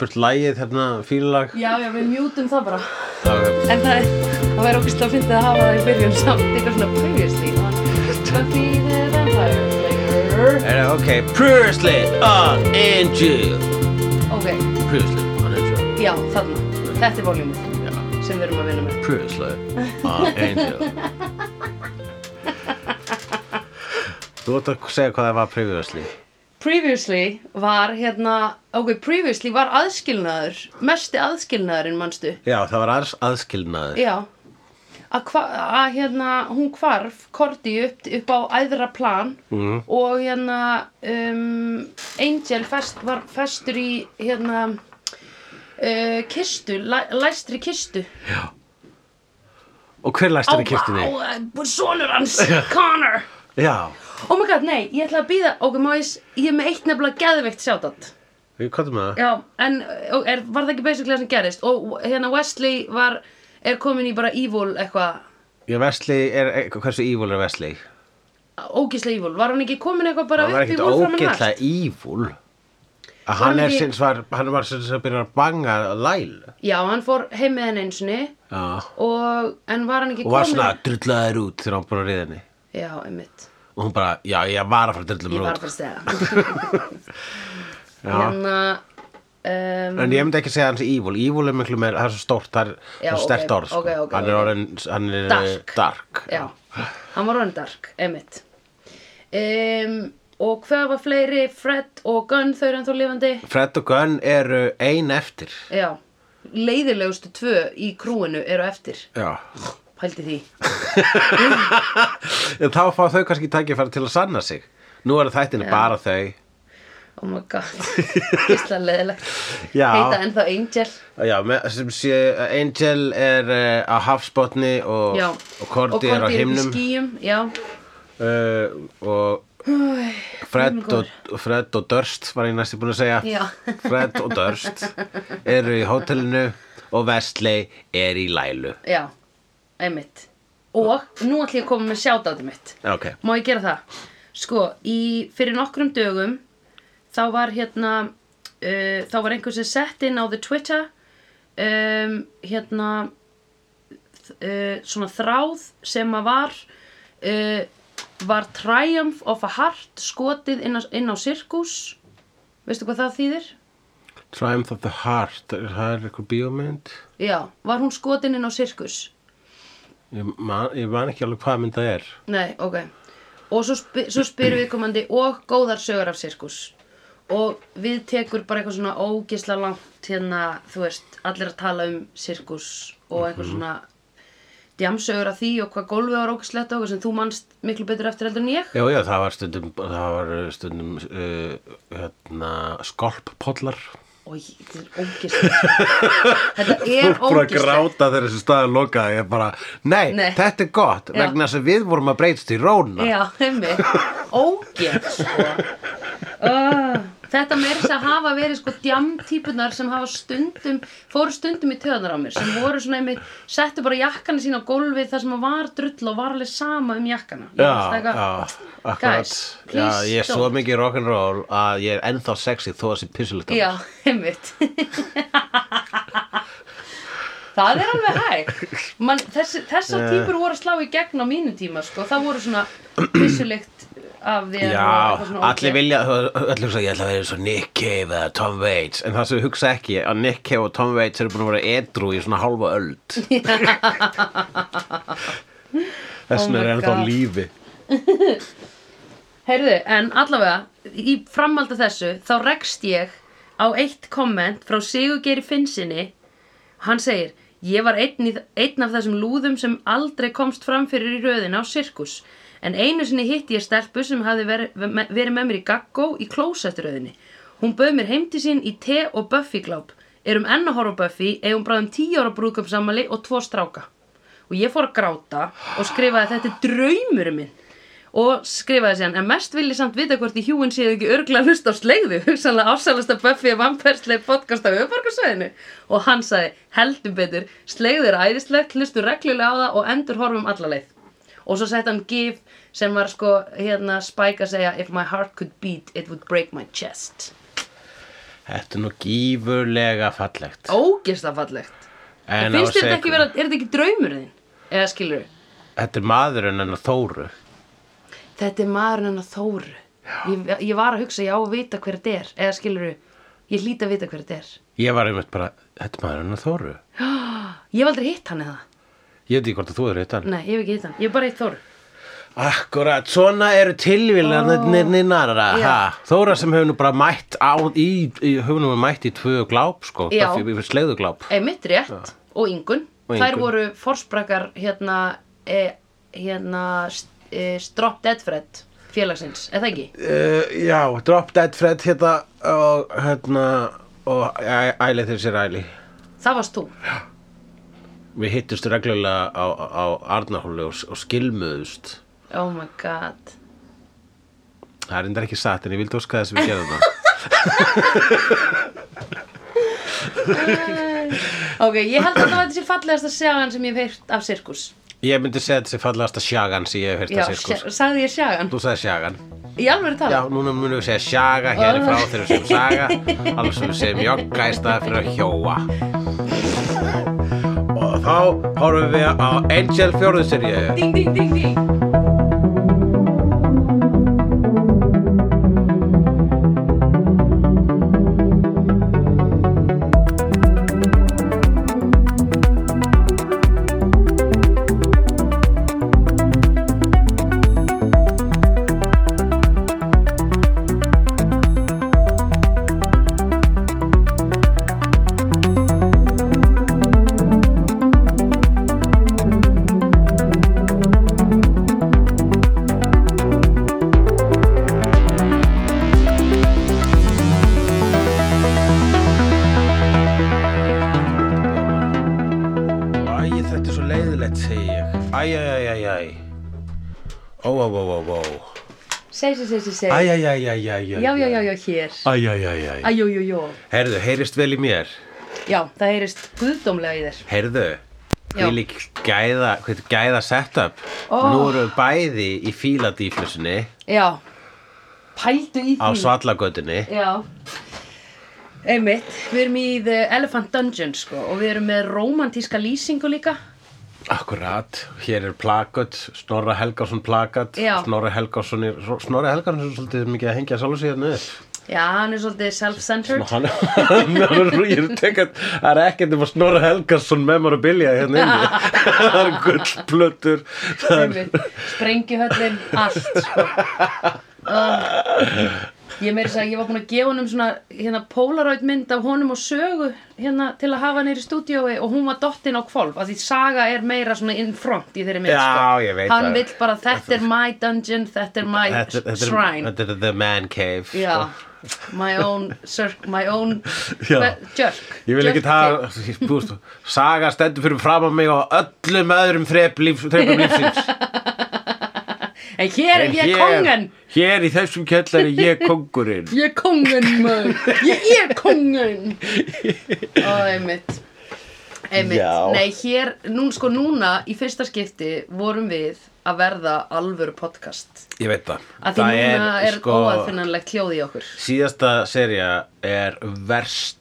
burt lægið hérna fílulag Já, já, við mjútum það bara. Það- En það er, það væri okkur slá fyndið að hafa það í byrjun samt, eitthvað svona previously on Buffy the Vampire Slayer. Er það ok, previously on Angel Ok, Previously on Angel já, þarna. Þetta er voljúmið Já, sem við erum að vinna með. previously on Angel Þú ætti að segja hvað það var previously Previously var hérna, ok, previously var aðskilnaður, mesti aðskilnaðurinn mannstu. Já, það var aðs- aðskilnaður Já, að, hva, að hérna hún hvarf Korti upp, upp á æðra plan Mhm. og hérna um, Angel fest, var festur í hérna uh, kistu, læ, læstri kistu. Og hver læst henni kistinni? Á, á, sonur hans, Connor. Já, Oh my god, nei, ég ætla að býða, ok, má ég, s- ég er með eitt nefnilega geðveikt sjátt. við komum með það Já, en og er, var það ekki basically það sem gerist og hérna Wesley var er komin í bara evil eitthvað Ég Vesli, er, eh, hversu ívúl er Vesli? ógislega evil, var hann ekki komin eitthvað bara Það var upp í ekkert wolfram and ógeðlega last ívúl Að hann hann er ekki- sinns var, hann var sinns að byrja að banga læl Já, hann fór heim með henn einsinni Já og, en var hann ekki Og var komin svona drullaður út þegar hann var búin að riða henni Já, einmitt, Og hún bara, já, ég var að fara að drulla ég mér var út bara að segja Já. Hérna um, En ég myndi ekki segja hans í Evil Evil er miklu meir, það er svo stórt, það er Já, svo stert ok, orð sko. ok, ok, Hann er ok. orðin, hann er eh, Dark. dark Já, hann var orðin dark, einmitt um, Og hvað var fleiri, Fred og Gunn þau eru ennþá lifandi Fred og Gunn eru ein eftir Já, leiðilegustu tvö í krúinu eru eftir Já Pældi því En þá fá þau kannski tækifæri til að sanna sig Nú eru þættinu bara þau Oh my god Gísla leðilegt Já. Heita ennþá Angel Já, með, sem sé, Angel er uh, á hafsbotni og, Já og Korti er á Cordy himnum upp í skýjum Já uh, og Fred og, Fred og Durst var ég næstu búin að segja Já. Fred og Durst eru í hótelinu og Vestley er í Lælu Já Einmitt Og nú ætlum ég að koma með sjátátum mitt Ok, Má ég gera það? Sko, í, fyrir nokkrum dögum þá var hérna uh, þá var einhver sem sett inn á the Twitter um, hérna uh, svona þráð sem að var uh, var Triumph of a Heart skotið inn á, inn á sirkus veistu hvað það þýðir? Triumph of the Heart er það er eitthvað bíómynd Já, var hún skotin inn á sirkus? ég man, ég man ekki alveg hvað mynd það er Nei, ok. Og svo, sp svo spyr viðkomandi og góðar sögur af sirkus. Og við tekur bara eitthvað svona ógisla langt hérna, þú veist, allir að tala um sirkus og eitthvað Mhm. svona djamsögur af því og hvað gólfið var ógislegt og eitthvað sem þú manst miklu betur eftir heldur en ég. Jú, jú, það var stundum, það var uh, stundum uh, hérna, skolppollar Og þetta er ógislegt. þetta er fólk bara að ógislegt. gráta þegar þessu staði lokaði ég bara, nei, Nei. þetta er gott Já. vegna þess að við vorum að breytast í róna Já, heimmi. Ógið, sko. Uh, þetta meir þess að hafa verið sko djamtípunar sem hafa stundum, fóru stundum í töðanar á mér sem voru svona einmitt, settu bara jakkana sína á gólfið þar sem að var drull og var alveg sama um jakkana. Ég já, var alltaf eitthvað, já, akkurat Guys, já, please ég er svo don't. mikið rock'n'roll að ég er ennþá sexy þó að sé pissulegt á Já, mér. einmitt. Það er alveg hæg. Man, þessi, Eh. þessar típur voru að slá í gegn á mínum tíma, sko. Það voru svona vissulikt af þér. og eitthvað Já, svona allir ógeð. vilja, allir hugsa, ég ætla að vera eins og Nick Cave eða Tom Waits En það sem við hugsa ekki, að Nick Cave og Tom Waits eru búin að vera edru í svona halva öld Þessin Oh er my ennþá God. lífi Heyrðu, en allavega, í framhaldi af þessu, þá rekst ég á eitt komment frá Sigurgeiri Finnsinni. Hann segir, ég var einn, í, einn af þessum lúðum sem aldrei komst fram fyrir í röðina á sirkus. En einu sinni hitti ég stelpu sem hafði verið, verið með mér í gaggó í klósettröðinni. Hún bauð mér heimti sín í te og Buffy gláp. Erum enn að horfa á Buffy, eigum bráðum 10 ára brúkum samali og tvo stráka. Og ég fór að gráta og skrifaði þetta er draumurinn minn og skrifaði síðan en mest vil ég samt vita hvort í hjúin séu ekki örgla hlust á slegðu hugsanlega ásælasta Buffy vampersleg podcast á öðborgarsvæðinu og hann sagði heldur betur slegðu er æðislegt hlustu reglulega á það og endur horfum alla leið og svo sett hann gif sem var sko hérna Spike að segja if my heart could beat it would break my chest Þetta er nú gífurlega fallegt ógeðslega fallegt En en á finnst þér þetta ekki sekúndu- vera, er þetta ekki draumur þinn? eða skilur Þetta er maðurinn en að Þóru þetta er maðurinn hennar Þóru ég, ég var að hugsa, ég á að vita hver þetta er eða skilur ég hlýt að vita hver þetta er Ég var einmitt bara, þetta er maðurinn en að Þóru ég hef aldrei hitt hann eða Ég veit ekki hvort að þú er hittan nei, ég hef ekki hitt hann, ég hef bara hitt Þóru Akkurat, svona eru tilvílanirnar Ó, já. oh. Þóra sem hefur nú bara mætt á, í, í, hefur nú mætt í tvö gláp sko, Já. bara fyrir- fyrir sleiðugláp Einmitt Eh, rétt og Ingun. Og Þær Ingunn. voru forsprakkar hérna, e, hérna e, Strop Dead Fred félagsins, eða ekki? uh, Já, Drop Dead Fred hérna og hérna og Æ- æli þeir sér æli Það varst þú. Við hittust reglulega á, á Arnahólu og, og skilmuðust Oh my god. Það er enda ekki satt en ég vildi óska þess að við gerðum það Ok, ég held að það var þessi fallegasta sjagan sem ég hef heyrt af sirkus. Ég myndi segja þessi fallegasta sjagan sem ég hef heyrt Já, að sirkus sja- sagði ég sjagan. Þú sagði sjagan Í alveg Já, tala. núna munum við segja sjaga hér í frá þegar við segjum saga alveg sem við segjum jogga í staði fyrir að hjóa Og þá horfum við á Angel fjóruðserju Ding, ding, ding, ding. Æ, þetta er svo leiðilegt, segi ég. Æ, æ, æ, æ, æ. Ó, ó, ó, ó, ó. Seg, seg, seg, seg, seg. Æ, æ, æ, æ, æ, æ. Já, já, já, já, hér. Æ, æ, æ, æ. Æjó, jú, jú. Herðu, heyrist vel í mér. Já, það heyrist guðdómlega í þér. Herðu, Já. hvílík gæða, hvað gæða setup. Ó. Nú eru við bæði í fíladíflusinni Já. Pældu í því. á svallagötunni. Já Einmitt, við erum í The Elephant Dungeon sko og við erum með romantíska lýsingu líka Akkurat, hér er plakat, Snorra Helgarsson plakat. Já. Snorra Helgarsson er, Snorra Helgarsson er svolítið mikið að hengja sjálf sér niður. Já, hann er svolítið Nú, self-centered hann, hann, hann, ég er tekað, það er ekkert um að Snorra Helgarsson memorabilia hérna inni. það er gullplötur, það er, Einmitt, Sprengjuhöllin, allt sko uh, Ég meiri að ég var búin að gefa honum svona hérna Polaroid mynd af honum og sögu hérna til að hafa hann í stúdíói og hún var dottin á kvolf að því saga er meira svona in front í þeirri mynd Já, sko. ég veit Hann það. vill bara þetta er my dungeon, þetta er my þetta, er- þetta, er- shrine þetta er the man cave. sko. Já, my own circ, my own Já. hver- jerk Ég vil ekki Jerk það, þú veist, saga stendur fyrir fram að mig á öllum öðrum þrep líf, þrepum lífsins. cake. En hér er En ég kongen Hér í þessum kjallar er ég kongurinn. Ég er kongen maður Ég er kongen Ó, einmitt Einmitt, Já. nei hér, nú, sko núna í fyrsta skipti vorum við að verða alvöru podcast Ég veit það. sko, að því núna er, er óaðfinnanlegt hljóð í okkur Síðasta serja er verst,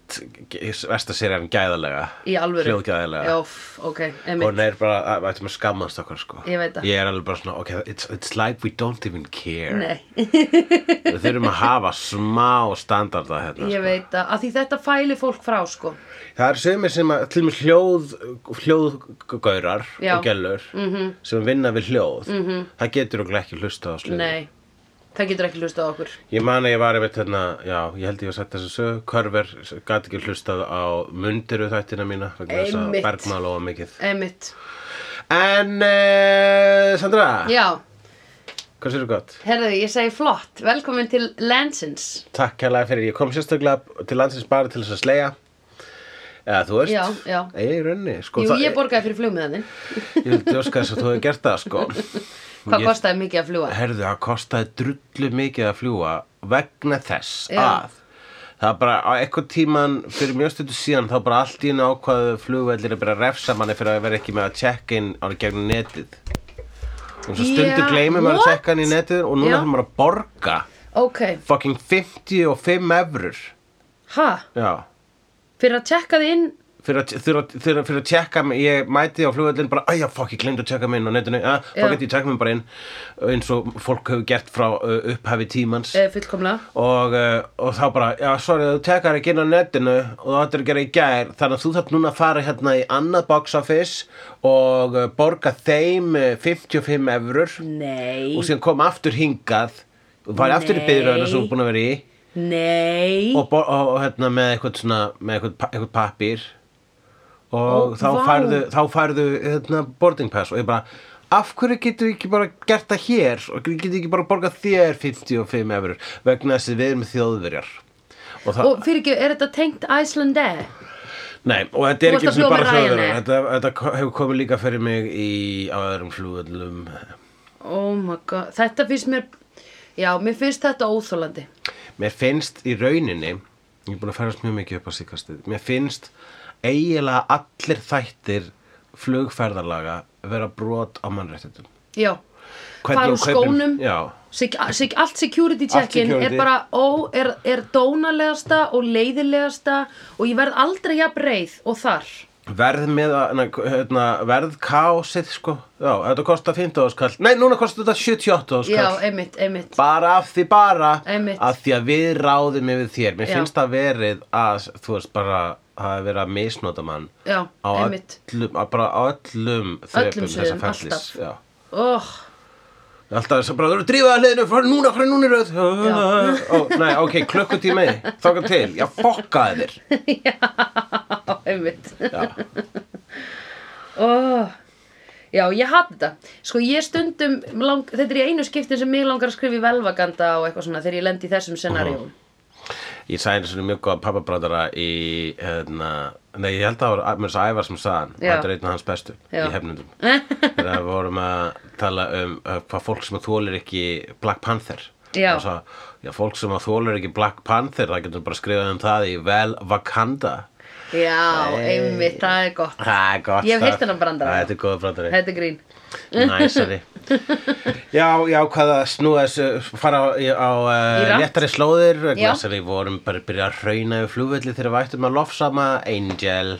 versta serjan gæðalega. í alvöru Hljóðgæðalega. Jóf, ok, og einmitt hún er bara, að- við ættum að skammast okkar sko Ég veit það. ég er alveg bara svona, ok, it's, it's like we don't even care Nei, við þurfum að hafa smá standarda hérna ég sko. veit að, að því þetta fæli fólk frá sko það er sömur sem að, til og með hljóð hljóðgaurar Já. Mhm. og gellur -hmm. sem vinna við hljóð -hmm. það getur okkur ekki hlusta á slöðu Nei, það getur ekki hlusta á okkur Ég man að ég var einmitt hérna, já, ég held ég að setja þessu sög, Körver gat ekki hlustað á mundiru þættina mína, vegna þess að Einmitt. Bergmál og mikið. Einmitt, En, uh, Sandra, já, hvað sér gott? herðu, ég segi flott Velkomin til Lansins Takk kærlega fyrir, ég kom sérstaklega til landsins bara til þess að sleia eða þú veist Já, já. ég er raunni sko, Jú, það- ég borgaði fyrir flugmiðaninn ég vildi óska þess að þú hefði gert það sko. Hvað Ég- kostaði mikið að fljúa? herðu, það kostaði drullu mikið að fljúa vegna þess Já. að það bara á eitthvað tíman fyrir mjög stundu síðan þá bara allt í einu ákvaðu flugvellir að byrja að refsa manni fyrir að vera ekki með að checka inn á gegnum netið og svo stundu Já, yeah, gleymið maður að what? checka inn í netið og núna Já. þarf maður að borga Ok, fucking 55 evrur ha, Já. fyrir að tjekka þið inn Fyrir að, fyrir, að, fyrir, að, fyrir að tjekka mig, ég mæti á flugvöldin bara, æja, fuck, ég glemt að tjekka mig inn á netinu, ja, Já. fuck, ég tjekka mig bara inn eins og fólk hefur gert frá uh, upphafi tímans eh, fullkomlega og, uh, og þá bara, já, sorry, þú tekkar ekki inn á netinu og þú ættir að gera í gær þannig að þú þarf núna að fara hérna í annað box office og uh, borga þeim uh, 55 eurur Nei, og síðan kom aftur hingað og var aftur í Nei. byrjuröðina sem þú er búin að vera í nei og, bor- og, og hérna með eitthvað svona með eitthvað, pa- eitthvað pappír og Ó, þá vá. færðu, þá færðu hérna, boarding pass og ég bara af hverju getur við ekki bara gert það hér og getur við ekki bara borgað þér 55 eurur vegna þess að við erum þjóðverjar og það, Og fyrir ekki, er þetta tengt Iceland Air? nei, og þetta Þú er ekki varst að einu sinni fljúga bara með þjóðverjar Ryanair. þetta, þetta ko- hefur komið líka fyrir mig í, á öðrum flugöllum Oh my god, þetta finnst mér Já, mér finnst þetta óþólandi mér finnst í rauninni ég er búin að færast mjög mikið upp á síkastið mér finnst eiginlega allir þættir flugferðarlaga vera brot á mannréttindum Já, fara úr skónum já, sig, sig, allt security Allt checkin security. er bara ó, er, er dónalegasta og leiðilegasta og ég verð aldrei jafn reið og þar verð með að, na, hérna, verð kásið sko já, þetta kostar 15 áskall nei, núna kostar þetta 78 Já, áskall einmitt, einmitt bara af því bara Einmitt. að því að við ráðum yfir þér mér Já. finnst það verið að þú veist bara að hafa verið að misnota mann Já, á einmitt öllum, að bara á öllum þrepum þessa sviðum, ferlis alltaf. já oh, Alltaf þess að bara þú eru drífað að hliðinu, fara núna, fara núna í röð Ó, Nei, ok, klukkutími, þáka til, já, fokkaði þér Já, einmitt Já, oh. Já, ég hata þetta Sko, ég stundum, lang, þetta er í einu skiptin sem mig langar að skrifa í velvaganda og eitthvað svona þegar ég lendi í þessum scenarjum Ég sagði eins og mjög góða pappabráðara í, hérna, nei, ég held að það var að- mér svo ævar sem sagðan Já. Þetta er einn af hans bestu Já. í hefnundum Þegar við vorum að tala um uh, hvað fólk sem þólir ekki Black Panther Já. Og svo, já, fólk sem þólir ekki Black Panther, það getur bara skrifað um það í Vel Wakanda Já, einmitt, það er gott Það er gott Ég hef stöf. heyrt þennan brandara. Þetta er góða brandari Þetta er grín Næsari Já, já, hvað að snúa þessu fara á, í- á Í uh, rangt. léttari slóðir Já. vegna þess að við vorum bara að byrja að rauna yfir flugvelli þegar við ættum að lofsama Angel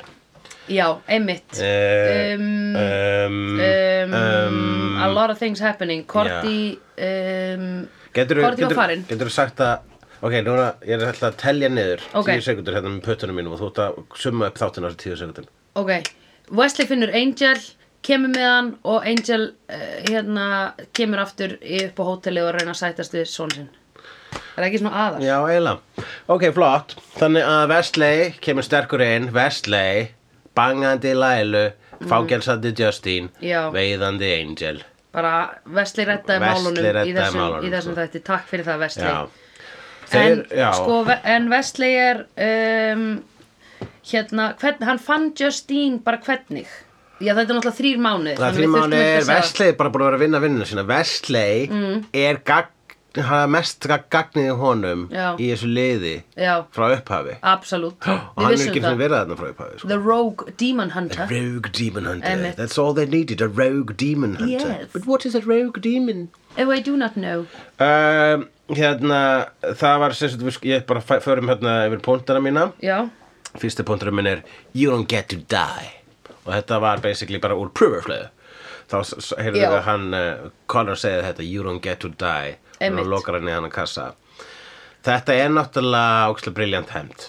Já, einmitt um, um, um, um, um, A lot of things happening Korti um, Getur Korti var farin þú sagt að Ok, núna ég er alltaf að telja niður Ok. 10 sekundur hérna með pötunum mínum og þú ert að summa upp þáttina þessu 10 sekundum Ok, Wesley finnur Angel kemur með hann og Angel uh, hérna kemur aftur upp á hóteli og reyna að sætast við son sinn Er það ekki svona aðar? Já, eiginlega. Ok, flott. Þannig að Vestley kemur sterkur inn, Vestley, bangandi Lælu, fágelsandi Justin, Mhm. Já. veiðandi Angel. Bara Wesley rettaði Wesley málunum reddaði í þessum, málunum, í þessum sko. þætti Takk fyrir það Wesley Já. Þeir, en, já, sko, Ve- en Wesley er um, hérna, hvern, hann fann Justine bara hvernig Já, þetta er náttúrulega þrýr mánuð það því mánu er Vestley bara búin að vera að vinna vinnuna sína. Vestley Mm. er gagn, hafa mest gag- gagnið í honum Já. í þessu liði Já, frá upphafi. absolutt Og hann er ekki sem verið þarna frá upphafi. Sko. The Rogue Demon Hunter Rogue Demon Hunter. Einmitt. That's all they needed, a rogue demon hunter. Yes. But what is a rogue demon? Oh, I do not know Um, hérna, það var sem sagt, við- ég bara fæ- förum hérna yfir póntana mína. Já, Fyrsti pónturinn minn er You don't get to die. Og þetta var basically bara úr pröfuflöðu. Þá s- s- heyrðum Já. við að hann, uh, Connor segið þetta You don't get to die. Einmitt. Og nú lokar hann í hann að kassa. Þetta er náttúrulega ókslega briljant hefnd.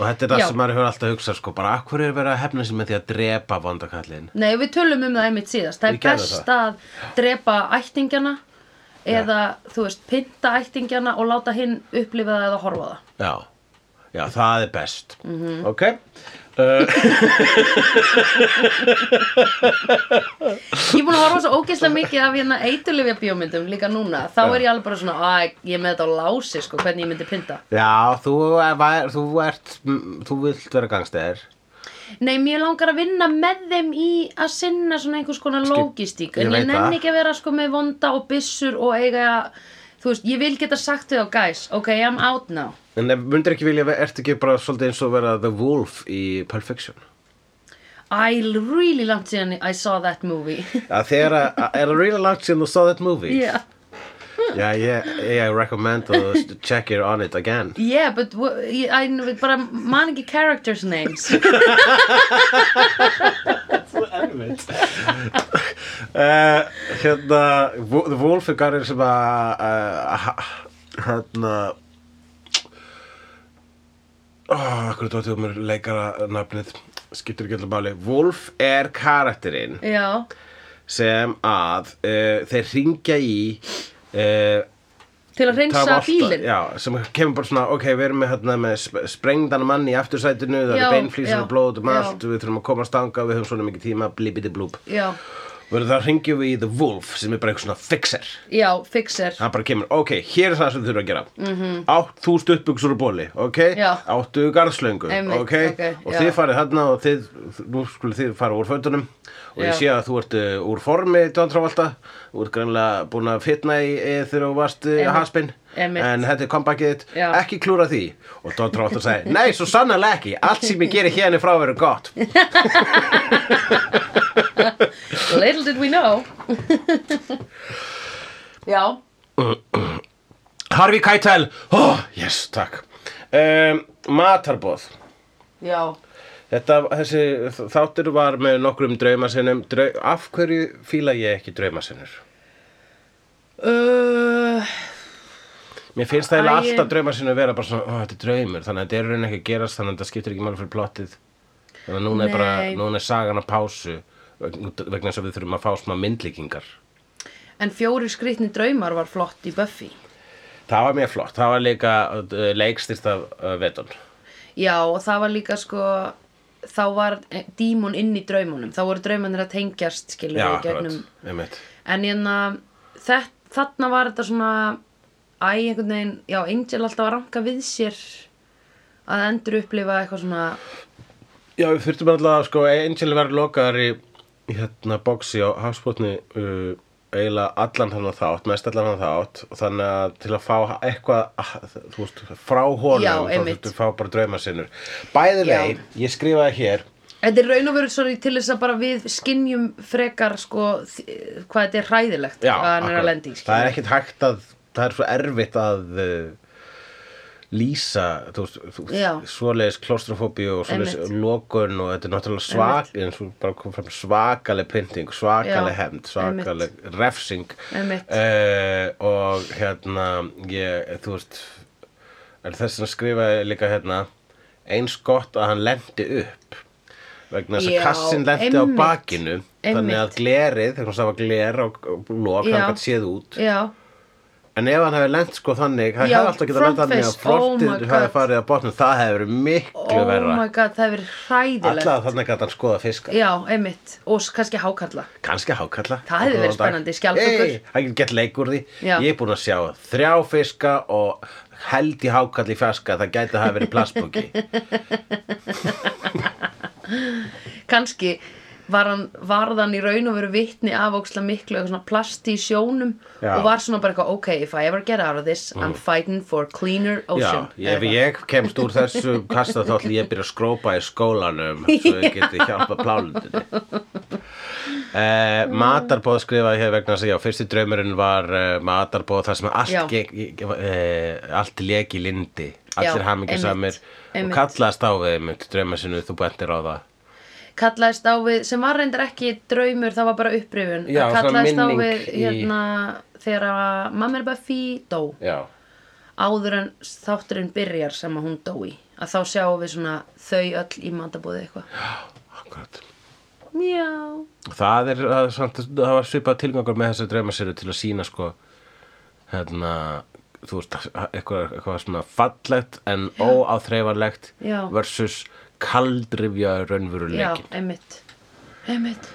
Og þetta er það Já. sem maður hefur alltaf að hugsa sko, bara akkur er verið að hefna sér með því að drepa vondakallin. nei, við tölum um það einmitt síðast Það er Við gerðum best það. að drepa ættingjana eða, þú veist, pynta ættingjana og láta hinn upplifa það eða horfa á það Já, já, það er best. Mhm. -hmm. Ok. Uh, Ég er búin að horfa svo ógeðslega mikið af hérna eiturlifja bíómyndum líka núna Þá er ég alveg bara svona, að ég er með þetta á lási sko, hvernig ég myndi pynta Já, þú, er, var- þú ert, mm, þú vilt vera gangstæðir. Nei, mér langar að vinna með þeim í að sinna svona einhvers konar lógistík En ég ég veit það. nenni ekki að vera sko með vonda og byssur og eiga Þú veist, ég vil geta sagt þau á guys, ok, I'm out now En ef myndir ekki vilja, ertu ekki bara svolítið eins og vera The Wolf í Pulp Fiction? I really langt síðan I saw that movie Að þegar að, að- er það really langt síðan þú saw that movie? Já, yeah, yeah, yeah, I recommend to s- check it on it again. Yeah, but wha- ég- I kn- bara man ekki characters names Uh, hérna, Wo- The Wolfengar er sem að, uh, ha- hérna, oh, hvernig tóttu um leikara nafnið, skiptir ekki öllu máli. Wolf er karakterinn Já, sem að uh, þeir ringja í uh, til að hreinsa bílinn já, sem kemur bara svona, ok, við erum með, hérna, með sp- sprengdan mann í aftursætinu það Já, eru beinflýsir já, og blóð um já. allt við þurfum að komast þangað, við höfum svona mikið tíma blibidi blúb Já, Verður það ringjum við í The Wolf sem er bara eitthvað svona fixer já, fixer Það bara kemur, ok, hér er það sem þú þurfum að gera mm -hmm. Átt þú stuttbuxur og bóli, ok Mhm. Já. Áttu garðslöngu, Einmitt, ok ok, Og já. þið farið þarna og þið, nú skulle þið fara úr fötunum Og ég Já. sé að þú ert uh, úr formi, John Travolta Þú ert greinlega búin að fitna í, í þegar þú varst uh, Einmitt, haspin einmitt. En þetta er comebackið þitt, Já. ekki klúra því Og John Travolta sagði, nei, svo sannarlega ekki Allt sem ég gerir hérna er frá verið gott Little did we know Já, Harfi Keitel, oh, yes, takk um, Matarboð já Þetta, þessi þáttur var með nokkrum draumasinnum Drau, Af hverju fíla ég ekki draumasinnur? uh, Mér finnst það Æ, eiginlega ég- alltaf draumasinnur vera bara svona, ó, þetta er draumur Þannig að þetta er í raun ekki að gerast, þannig að þetta skiptir ekki máli fyrir plottið Þannig að núna er bara, Nei. núna er sagan að pásu vegna vegna þess að við þurfum að fá smá myndlíkingar En fjóri skrýtni draumar var flott í Buffy Það var mjög flott, það var líka uh, leikstyrst af uh, vetun Já, og það var líka sko þá var eh, dímon inn í draumunum þá voru draumanir að tengjast skilur Já, við akkurat, gegnum einmitt en hérna þett, þarna var þetta svona æ, einhvern veginn, já, Angel alltaf að ranka við sér að endur upplifa eitthvað svona Já, við þurftum alltaf að sko Angel verður lokaðar í, í hérna boxi á hafsbótni uh, eiginlega allan hann þátt, mest allan hann þátt og þannig að til að fá eitthvað að, þú veist, frá honum Já, þá einmitt. þurftum við að fá bara drauma sinnur Bæði vei, ég skrifaði hér Þetta er raun og verið sorry, til þess að bara við skinjum frekar sko þ- hvað þetta er hræðilegt Já, að hann er akkurat. að lendi það er ekkit hægt að það er svo erfitt að uh, lýsa þú veist, þú- Já. svoleiðis klostrofóbíu og svoleiðis Einmitt. lokun og þetta er náttúrulega svak eins og bara kom fram svakaleg pynting svakaleg Já, hefnd, svakaleg refsing Einmitt. uh, og hérna ég, þú veist er þess að skrifa líka hérna eins gott að hann lendi upp vegna þess Já, að kassin lendi á einmitt. bakinu þannig Einmitt. að glerið, þegar það var gler og, og lok, Já. hann gætt séð út Já, en ef hann hefði lent sko þannig hann Já, hefði alltaf getað lent þannig að frontface, oh my frontið hefði God. farið að botnum það hefði verið miklu oh verra my god, það er verið hræðilegt alltaf þannig að hann skoða fiska Já, einmitt, og s- kannski hákalla kannski hákalla Það hefði verið Góðan dag. spennandi, skjaldbökur. Hey, hann getur gett leik úr því Já. ég er búin að sjá þrjá fiska og held í hákall í fjaska það gæti að hafa verið plastbóki kannski var hann, varð hann í raun og veru vitni af óksla miklu eitthvað svona plasti í sjónum Já. Mm. og var svona bara eitthvað, ok, if I ever get out of this I'm fighting for cleaner Já, ocean ef ég kemst úr þessu kasta þá ætlum ég að byrja að skrópa í skólanum svo ég geti hjálpa plálundinni uh, Matarbóð skrifaði hér vegna þess að já, fyrsti draumurinn var uh, matarbóð þar sem Já. allt, gek, uh, allt lék í lindi allir Já, hamingisamir einmitt, og einmitt. kallaðast á við einmitt drauma sinu þú bentir á það kallaðist á við, sem var reyndar ekki draumur, það var bara upprifun Já, Að svona kallaðist á minning við í- hérna þegar að mamma er bara fí dó Já, áður en þátturinn byrjar sem að hún dói að þá sjáum við svona þau öll í matabóði eitthvað akkurat já, Það er, það, er samt, það var svipað tilgangur með þessa draumaseru til að sína sko, hérna, þú veist, eitthvað, eitthvað svona fallegt en óáþreifanlegt Já. versus kaldrifja já, raunveruleikin. einmitt einmitt,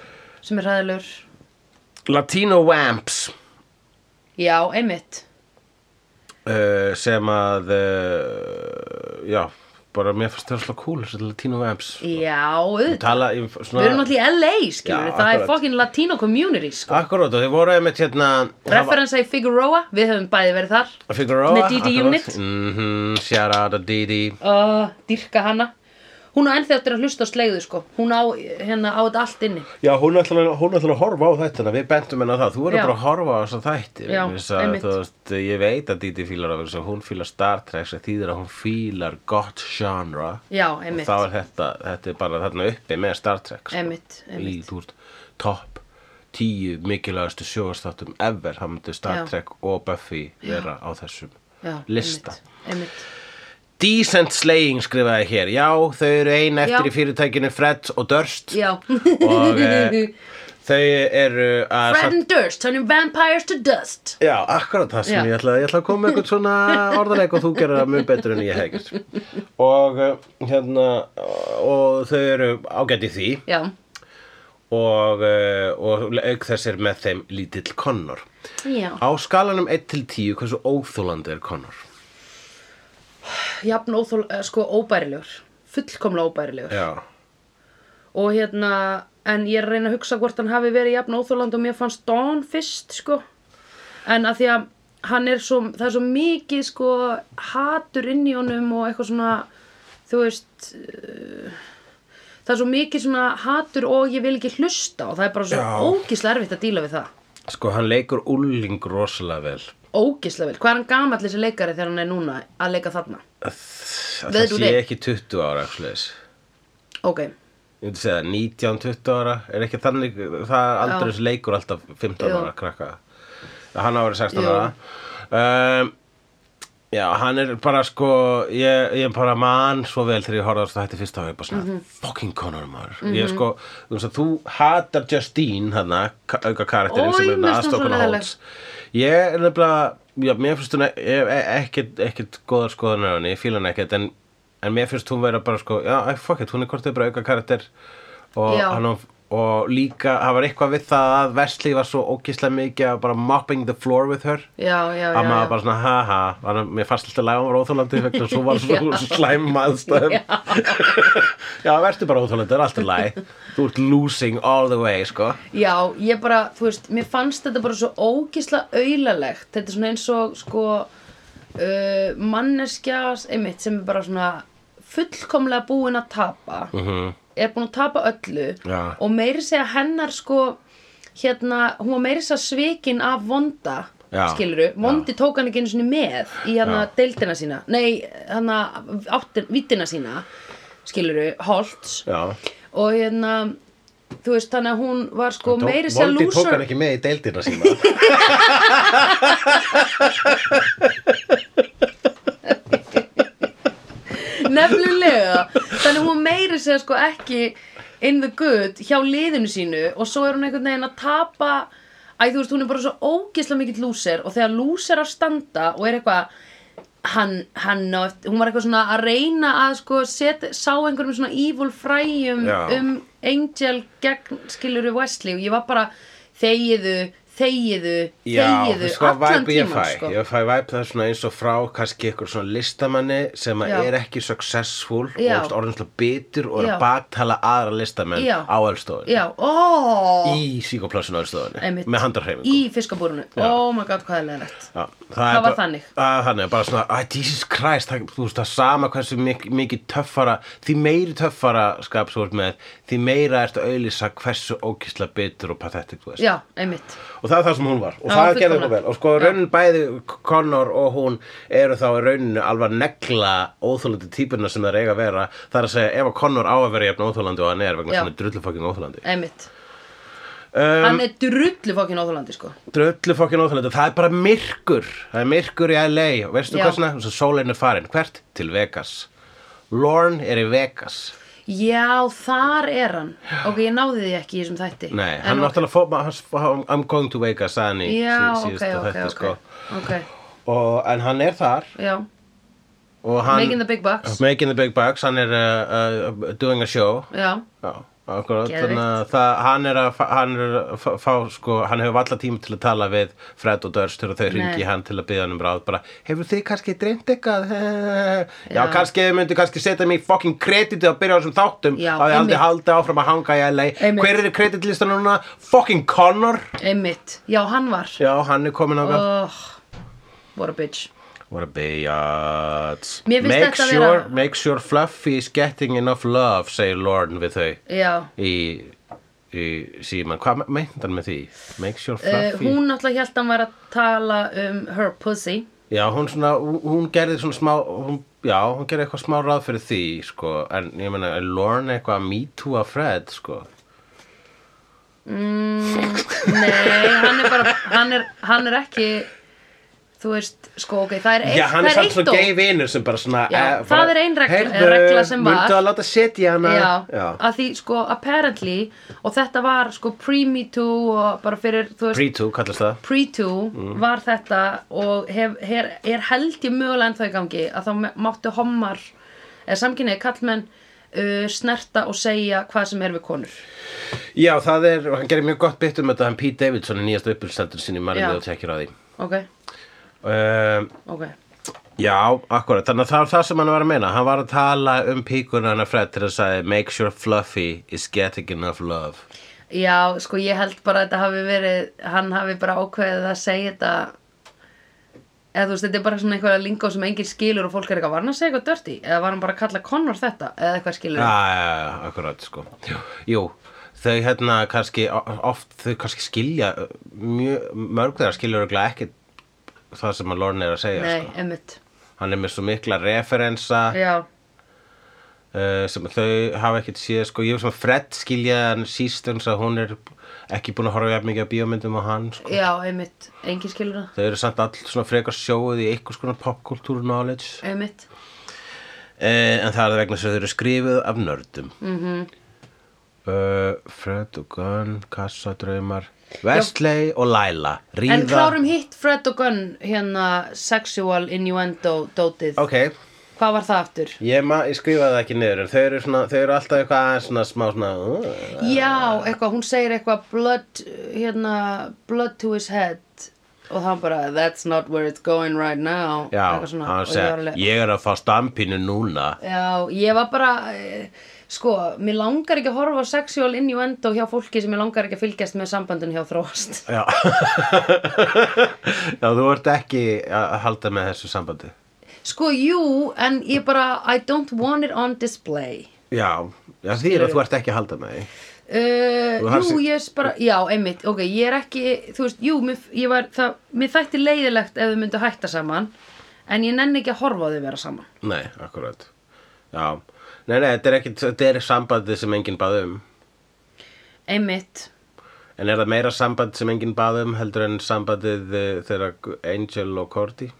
sem er hræðilegur Latino Wamps já, einmitt uh, sem að, uh, já, bara mér fannst það slá cool, þessi Latino Wamps. Já, auðvitað. Tala, ég, Við svona, erum náttúrulega í LA, skilur Já, við, það er akkurat. fokkin latino community, sko. Akkurát, og þið voru einmitt hérna það var- Referensa í Figueroa, við höfum bæði verið þar. Figueroa með DD Unit. Mhm, mm -hmm, Shout out að DD Uh, dyrka hana. hún á ennþá eftir að hlusta á slegðu sko hún á, hérna, á þetta allt inni Já, hún ætlar, að- hún ætlar að horfa á þetta Við bentum henni á það, þú verður Já. bara að horfa á þessa þætti Já, vegna þess að, einmitt. þú veist, Ég veit að Didi fílar af þessu Hún fílar Star Trek sem þýðir að hún fílar gott genre já, Og einmitt, þá er þetta, þetta er bara þarna uppi með Star Trek sko. einmitt, Í, einmitt. þú veist, topp tíu mikilvægastu sjóðastáttum ever, það myndi Star Já. Trek og Buffy vera á þessum Já, lista. einmitt, einmitt. Decent Slaying skrifaði hér, já, þau eru ein eftir Já. í fyrirtækinu Fred og Durst já og eh, þau eru að Fred and Durst, turning vampires to dust Já, akkurat það sem Já. ég ætlaði, ég ætlaði að koma með eitthvað svona orðanleik og þú gerir það mjög betur en ég hef ekkert. Og eh, hérna, og þau eru ágætt í því já, og, eh, og auk þess er með þeim lítill Connor. já, Á skalanum 1 til 10, hversu óþúlandi er Connor? jafn óþól, eh, sko óbærilegur fullkomlega óbærilegur Já, og hérna en ég er að reyna að hugsa hvort hann hafi verið jafn óþóland og mér fannst Dawn fyrst sko en að því að hann er svo það er svo mikið sko hatur inn í honum og eitthvað svona þú veist uh, það er svo mikið svona hatur og ég vil ekki hlusta og það er bara svo Já. ógislega erfitt að díla við það sko hann leikur úling rosalega vel. ógislega vel, hvað er hann gamall þessi leikari þegar hann er núna að leika þarna Það Veit það þú sé neitt? ekki 20 ára, ekki leis. ok, Ég myndi segja 19-20 ára, er ekki þannig, það er aldrei Já. þessi leikur alltaf 15 Jú. ára krakka. Hann ára 16 Jú. ára. Um, já, hann er bara sko, ég, ég er bara mann svo vel þegar ég horfði á þetta fyrsta og ég bara svona, Mhm. fucking Connor maður. Ég er sko, þú veist að þú hatar Justine, hana, ka- auka karakterinn Oj, sem er mér með finnst hún svo aðstokkuna leiðileg. Holtz. Ég er nefnilega, já, mér finnst hún e- e- e- ekkit, ekkit góðar skoðanir á henni, ég fíla hann ekkit, en, en mér finnst hún vera bara sko, já, æ, fuck it, hún er kortið bara auka karakter og, Já. hann, og líka, það var eitthvað við það að Wesley var svo ókíslega mikið að bara mopping the floor with her já, já, já, að maður já. bara svona, ha ha, var, mér fannst alltaf lægum var óþólandi vegna svo var svo Já. slæm aðstæðum. já, verður bara óþólandi, það er alltaf læg. Þú ert losing all the way, sko. já, ég bara, þú veist mér fannst þetta bara svo ógislega aulalegt þetta er svona eins og sko uh, manneskjas einmitt sem er bara svona fullkomlega búin að tapa -hmm. er búin að tapa öllu Mhm. Já. og meiri segja hennar sko hérna, hún var meiri segja svikin af vonda Já. skiluru, vondi tók hann ekki einu sinni með í hana Já. deildina sína nei, hana áttin, vittina sína skiluru, Holtz Já. og hérna þú veist þannig að hún var sko Tó- meiri sér Voldy tók hann lúsar ekki með í deildina sína. nefnilega þannig að hún meiri sér sko ekki in the good hjá liðinu sínu og svo er hún einhvern veginn að tapa æ þú veist hún er bara svo ógeðslega mikill lúser og þegar lúser að standa og er eitthvað hann, hann og eftir, hún var eitthvað svona að reyna að sko set, sá einhverjum svona evil fræjum Já. um Angel gegn skiluru Wesley og ég var bara þegiðu, þegiðu, Já, þegiðu sko, allan væp ég tíman fæ. sko Ég fæ væp það svona eins og frá kannski ykkur svona listamanni sem að Já. er ekki successful Já. og orðinslega bitur og er Já. að baktala aðra listamenn Já. á ölstofunni. Já, ó, Í síkoplásun á ölstofunni. Einmitt. Með handarheimingum. í fiskabúrunu oh my god, hvað er leðrætt Já, það, var er bara, þannig. að, þannig, bara svona, að Jesus Christ það, þú veist, það sama hversu mik mikið töffara því meiri töffara skap svo ert með, því meira ertu að auðlýsa hversu ókísla bitur og pathetic þú veist Já, einmitt, og það er það sem hún var og Já, það gerði fullkomlega. eitthvað vel og sko Já. raunin bæði Connor og hún eru þá í rauninu alveg að negla óþólandi típuna sem það eiga að vera það er að segja ef að Connor á að vera jafn óþólandi og hann er vegna Já. svona drullufokkin óþólandi einmitt um, Hann er drullu fokkin óþólandi sko Dröllu fokkin óþægilegt, það er bara myrkur, það er myrkur í LA og veistu Já. hversna, þess að sólinn er farin, hvert? Til Vegas. Lorne er í Vegas. Já, þar er hann Ok, ég náði því ekki í þessum þætti Nei, En hann ok. náttúrulega fór, hann- hann- I'm going to Vegas, sagði hann í Já, sí- ok, síðasta ok, þetta, ok sko. Ok, Og, en hann er þar já, og hann... making the big bucks Making the big bucks, hann er uh, uh, doing a show. Já, Já, akkurat, Geðveikt. þannig að það, hann er að, fa- hann er að fa- fá, sko, hann hefur alla tíma til að tala við Fred og Dörst þegar þau Nei. ringi hann til að byggja hann um ráð, bara, hefur þið kannski dreymt eitthvað? Já, Já. kannski þau myndu kannski setja mig í fucking kreditið að byrja á þessum þáttum, Já, að þið einmitt. aldrei haldi áfram að hanga í LA. Einmitt. Hver er kreditlistan núna? Fucking Connor! einmitt Já, hann var Já, hann er komin á oh, What a bitch What a biatch Mér finnst make þetta sure, vera- Make sure Fluffy is getting enough love segir Lorne við þau já í, í síman Hvað meinti hann með því? Make sure Uh, Fluffy hún náttúrulega held að hann var að tala um her pussy Já, hún, svona, hún- hún gerði svona smá hún, Já, hún gerði eitthvað smá ráð fyrir því sko. En ég meina, er Lorne eitthvað að me too að Fred sko? Nei, hann er bara, hann er, hann er ekki, þú veist, sko, ok, það er eitt, Já, hann það er samt svona dó- gay vinur sem bara svona Já, eh, það bara, er ein regla- "Heyrðu, regla sem var." Muntu að láta setja hana Já, Já. að því, sko, apparently, og þetta var, sko, pre-me too og bara fyrir, þú veist, Pre-too kallast það pre-too Mm. var þetta og hef, her, er held ég mögulega ennþá í gangi að þá me- máttu homar, eða samkynniði kallmenn, uh, snerta og segja hvað sem er við konur. Já, það er, og hann gerir mjög gott bytt um þetta hann Pete Davidson er nýjast uppbyrstendur sinni Já. margir og tekjur á því Ok, um, ok, Já, akkurat, þannig að það er það sem hann var að meina hann var að tala um píkuna hann að Fred til að sagði Make sure Fluffy is getting enough love Já, sko ég held bara að þetta hafi verið, hann hafi bara ákveðið að segja þetta eða þú veist, þetta er bara svona einhverja lingó sem enginn skilur og fólk er eitthvað, var hann að segja eitthvað dörti? Eða var hann bara að kalla Connor þetta? Eða eitthvað skilur? Já, já, já, akkurat, sko Jú, Jú þau hérna kannski o- oft, þau kannski skilja uh, mjög, mörg þeirra skilja örugglega ekki það sem að Lorne er að segja Nei, sko. emmitt. hann er með svo mikla referensa Já, uh, sem þau hafa ekkert séð sko, ég var svona Fred skilja hann síst eins að hún er ekki búin að horfa jafn mikið á bíómyndum og hann sko. já, emmitt. Enginn skilur það? þau eru samt all svona frekar sjóið í einhvers konar popkultúr knowledge uh, Emmitt. Eh, en það er vegna þess að þau eru skrifuð af nördum mm Mhm. Eh, Fred og Gunn Kassadraumar Wesley og Laila Ríða En klárum hitt Fred og Gunn hérna sexual innuendo dótið. Ok, Hvað var það aftur? ég, ma- ég skrifaði það ekki niður en þau eru, svona, þau eru alltaf eitthvað aðeins svona smá svona uh, Já, eitthvað, hún segir eitthvað blood, hérna, blood to his head og hann bara, that's not where it's going right now Já, eitthvað svona, hann og ég var segja, alveg- ég er að fá stampinu núna Já, ég var bara, eh, sko, mér langar ekki að horfa á sexual innuendo hjá fólki sem mér langar ekki að fylgjast með sambandun hjá þróast Já. Já, þú ert ekki að halda með þessu sambandi. Sko, jú, en ég bara, I don't want it on display Já, já því er að þú ert ekki að halda með því. Uh, Þú hafst- jú, ég er bara, já, einmitt, ok, ég er ekki, þú veist, jú, mér, ég var, það, mér þætti leiðilegt ef þau myndu hætta saman, en ég nenni ekki að horfa á þau vera saman. Nei, akkurat. Já, nei, nei, þetta er, ekki, þetta er sambandi sem enginn bað um. Einmitt, En er það meira samband sem enginn bað um heldur en sambandið eh, þegar Angel og Cordy?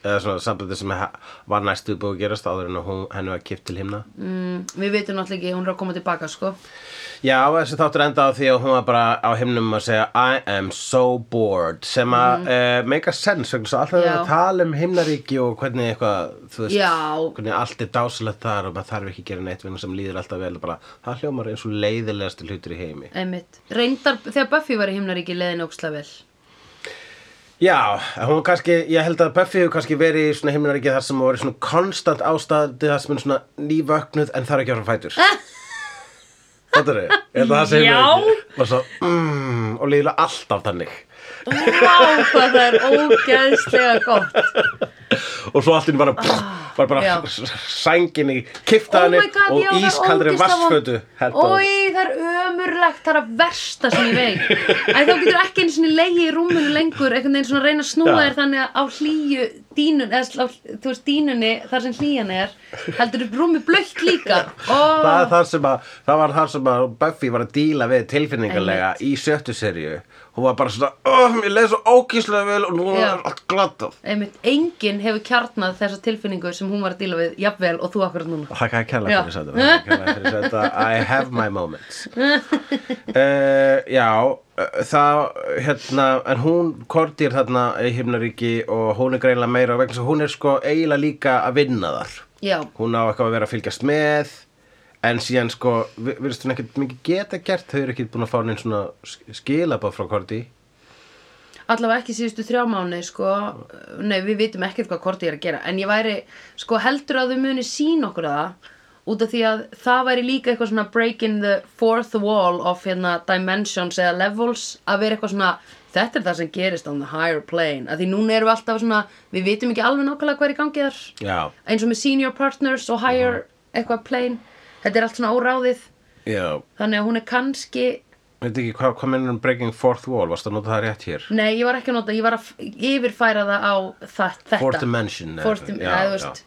Eða svona sambandið sem ha- var næstu búið að gerast áður en að hún, henni var kipt til himna? mm, við veitum náttúrulega ekki, hún er að koma tilbaka, sko. Já, þessi þáttur enda á því að hún var bara á himnum að segja I am so bored sem að mm. uh, make a sense vegna þess að alltaf við erum Mhm. Já. að tala um himnaríki og hvernig eitthvað, þú veist Já. hvernig allt er dásalegt þar og maður þarf ekki að gera neitt vegna sem líður alltaf vel og bara, það hljómar eins og leiðilegasti hlutur í heimi Einmitt, reyndar, þegar Buffy var í himnaríki leiðin óksla vel. Já, en hún kannski, ég held að Buffy hefur kannski verið í svona himnaríki þar sem hún var í svona konstant ástandi þar sem hún er svona nývöknuð en þarf ekki að vera fætur Þetta er þetta það sem Já. himnaríki og svo, mm, og líður alltaf þannig Vá, hvað það er ógeðslega gott. og svo allt inn bara, var bara Ah, Já. Oh sængin í kiftaðinni og ískaldri vassfötu Ói, það er ömurlegt, það er að versta sem ég veit. Æ, þá getur ekki einu sinni leiði í rúmunu lengur, einhvern veginn svona að reyna að snúa Já. þér þannig að á hlýju dínun, eða á, þú veist dínunni þar sem hlýjan er, heldur rúmi blöitt líka. Ó, Það, er það, sem að, það var það sem að Buffy var að díla við tilfinningarlega í sjöttu seríu hún var bara svona, oh, ég leið svo ókíslega vel og nú Já. er allt glattað Einmitt, enginn hefur kjarnað þessa tilfinningu sem hún var að díla við, jafnvel, og þú akkurat núna. Þakka að kella Já. fyrir þetta, þakka kærlega fyrir þetta, I have my moments. Uh, já, uh, það, hérna, en hún kortir þarna í himnaríki og hún er greinlega meira vegna svo hún er sko eiginlega líka að vinna þar. Já, Hún á eitthvað að vera að fylgjast með, en síðan sko, vi- virðist hún ekkert mikið geta gert, þau eru ekkert búin að fá neinn svona skilabað frá korti. allavega ekki síðustu þrjá mánu, sko, nei, við vitum ekkert hvað Korti er að gera, en ég væri, sko, heldur að þau muni sín okkur það, út af því að það væri líka eitthvað svona breaking the fourth wall of, hérna, dimensions eða levels, að vera eitthvað svona, Þetta er það sem gerist on the higher plane að því núna erum við alltaf svona, við vitum ekki alveg nákvæmlega hvað er í gangi þar Já, eins og með senior partners og higher eitthvað plane, þetta er allt svona óráðið já, þannig að hún er kannski veit ekki hvað hva mennur um breaking fourth wall, varst að nota það rétt hér? nei, ég var ekki að nota, ég var að f- yfirfæra það á það, þetta Fourth dimension. eða- Fourth dim- já, eða, þú já. veist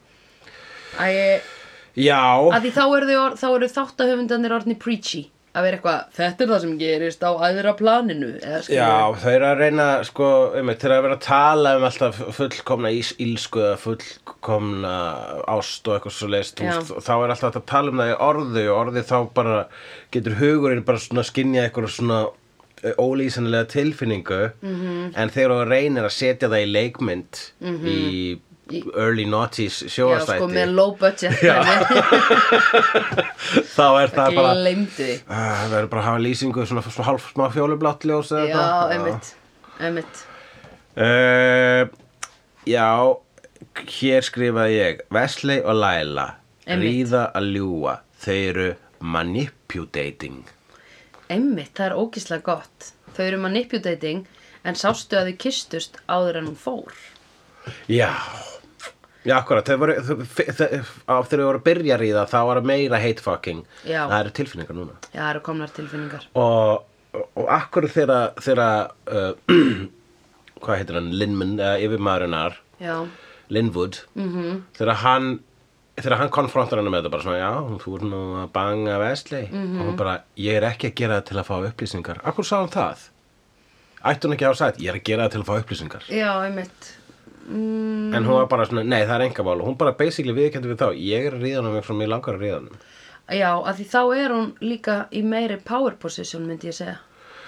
Æ, Já, að því þá eru, þau, or- þá eru þáttahöfundanir orðni preachy að vera eitthvað, þetta er það sem gerist á aðra planinu eða skilur Já, þau eru að reyna, sko, um, þau eru að vera að tala um alltaf fullkomna ís, ílsku eða fullkomna ást og eitthvað svo leist, Já. þá er alltaf hægt að tala um það í orðu og orði þá bara getur hugurinn bara svona skinja eitthvað svona eh, ólýsanlega tilfinningu -hmm. Mhm. en þegar þú reynir að setja það í leikmynd í early noughties já sko, sjóastæti með low budget dæmi. þá er það bara gleymdu því uh, það verður bara að hafa lýsingu svona, svona hálf smá fjólublátt ljós eða já, eitthvað. einmitt, einmitt Uh, já, hér skrifaði ég Wesley og Laila Einmitt. Ríða að ljúga Þau eru manipulating einmitt, það er ógislega gott þau eru manipulating en sástu að þau kistust áður en hún fór Já Já, akkurat, þau voru, þau, þau, þau, á- þegar þau voru að byrja að ríða þá var meira hate fucking Já. Það eru tilfinningar núna já, það eru komnar tilfinningar og, og akkur þegar, þegar uh, hvað heitir hann, Linman, uh, yfirmaðurinnar já, Linwood -hmm. þegar hann þegar hann konfrontar hann með þetta bara svona já, þú ert nú að banga Wesley og hún bara, ég er ekki að gera það til að fá upplýsingar akkur sá hann það? ætti hún ekki að hafa sagt, ég er að gera það til að fá upplýsingar já, einmitt mm, en hún var bara svona, nei það er enga mál og hún bara basically viðkendi við þá, ég er að ríða hann sem ég langar að ríða hann já, að því þá er hún líka í meiri power position myndi ég segja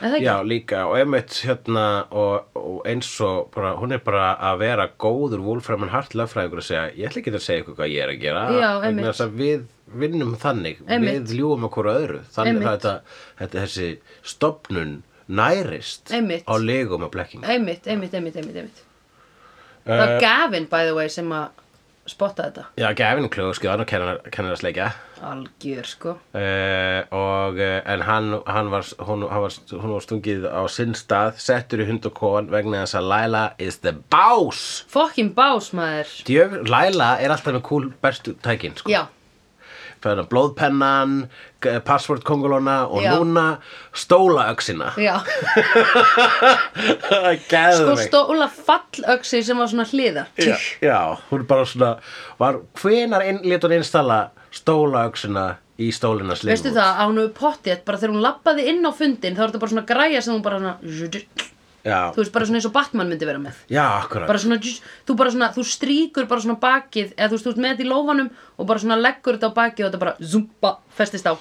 er það ekki? já, líka, og einmitt hérna og, og eins og bara, hún er bara að vera góður Wolfram and Hart lögfræðingur að segja, ég ætla ekki að segja ykkur hvað ég er að gera Já, vegna einmitt. þess að við vinnum þannig Einmitt. við ljúum okkur öðru þannig Einmitt. að þetta, þetta þessi stopnun nærist Einmitt. á legum og blekking Einmitt, einmitt, einmitt, einmitt, einmitt. Eh, Það var Gavin, by the way, sem að spotta þetta. já, um Gavin Klug skjóðan og kennar, kennar að sleikja Algjör, sko. Uh, og, uh, en hann, hann var, hún, hann var, hún var stungið á sinn stað settur í hund og kóan vegna þess að Laila is the boss Fokkin bás, maður. Djöf, Laila er alltaf með cool bestu tækin sko. Já, Fyrir að blóðpennan, g- password kongulóna og Já. núna stóla öxina. já. Gæðu Sko mig. stóla fallöksi sem var svona hliðar. Já, já, hún bara svona, var, hvenar inn, lét hún installa stóla öxina í stólina slimu? Veistu það, að hún hefur pottið, bara þegar hún labbaði inn á fundin, þá er þetta bara svona græja sem hún bara svona, þú Já, veist, bara svona eins og Batman myndi vera með. já, akkurat. Bara svona, þú bara svona, þú stríkur bara svona bakið, eða þú veist, þú ert með þetta í lófanum og bara svona leggur þetta á bakið og þetta bara, zumba, festist á.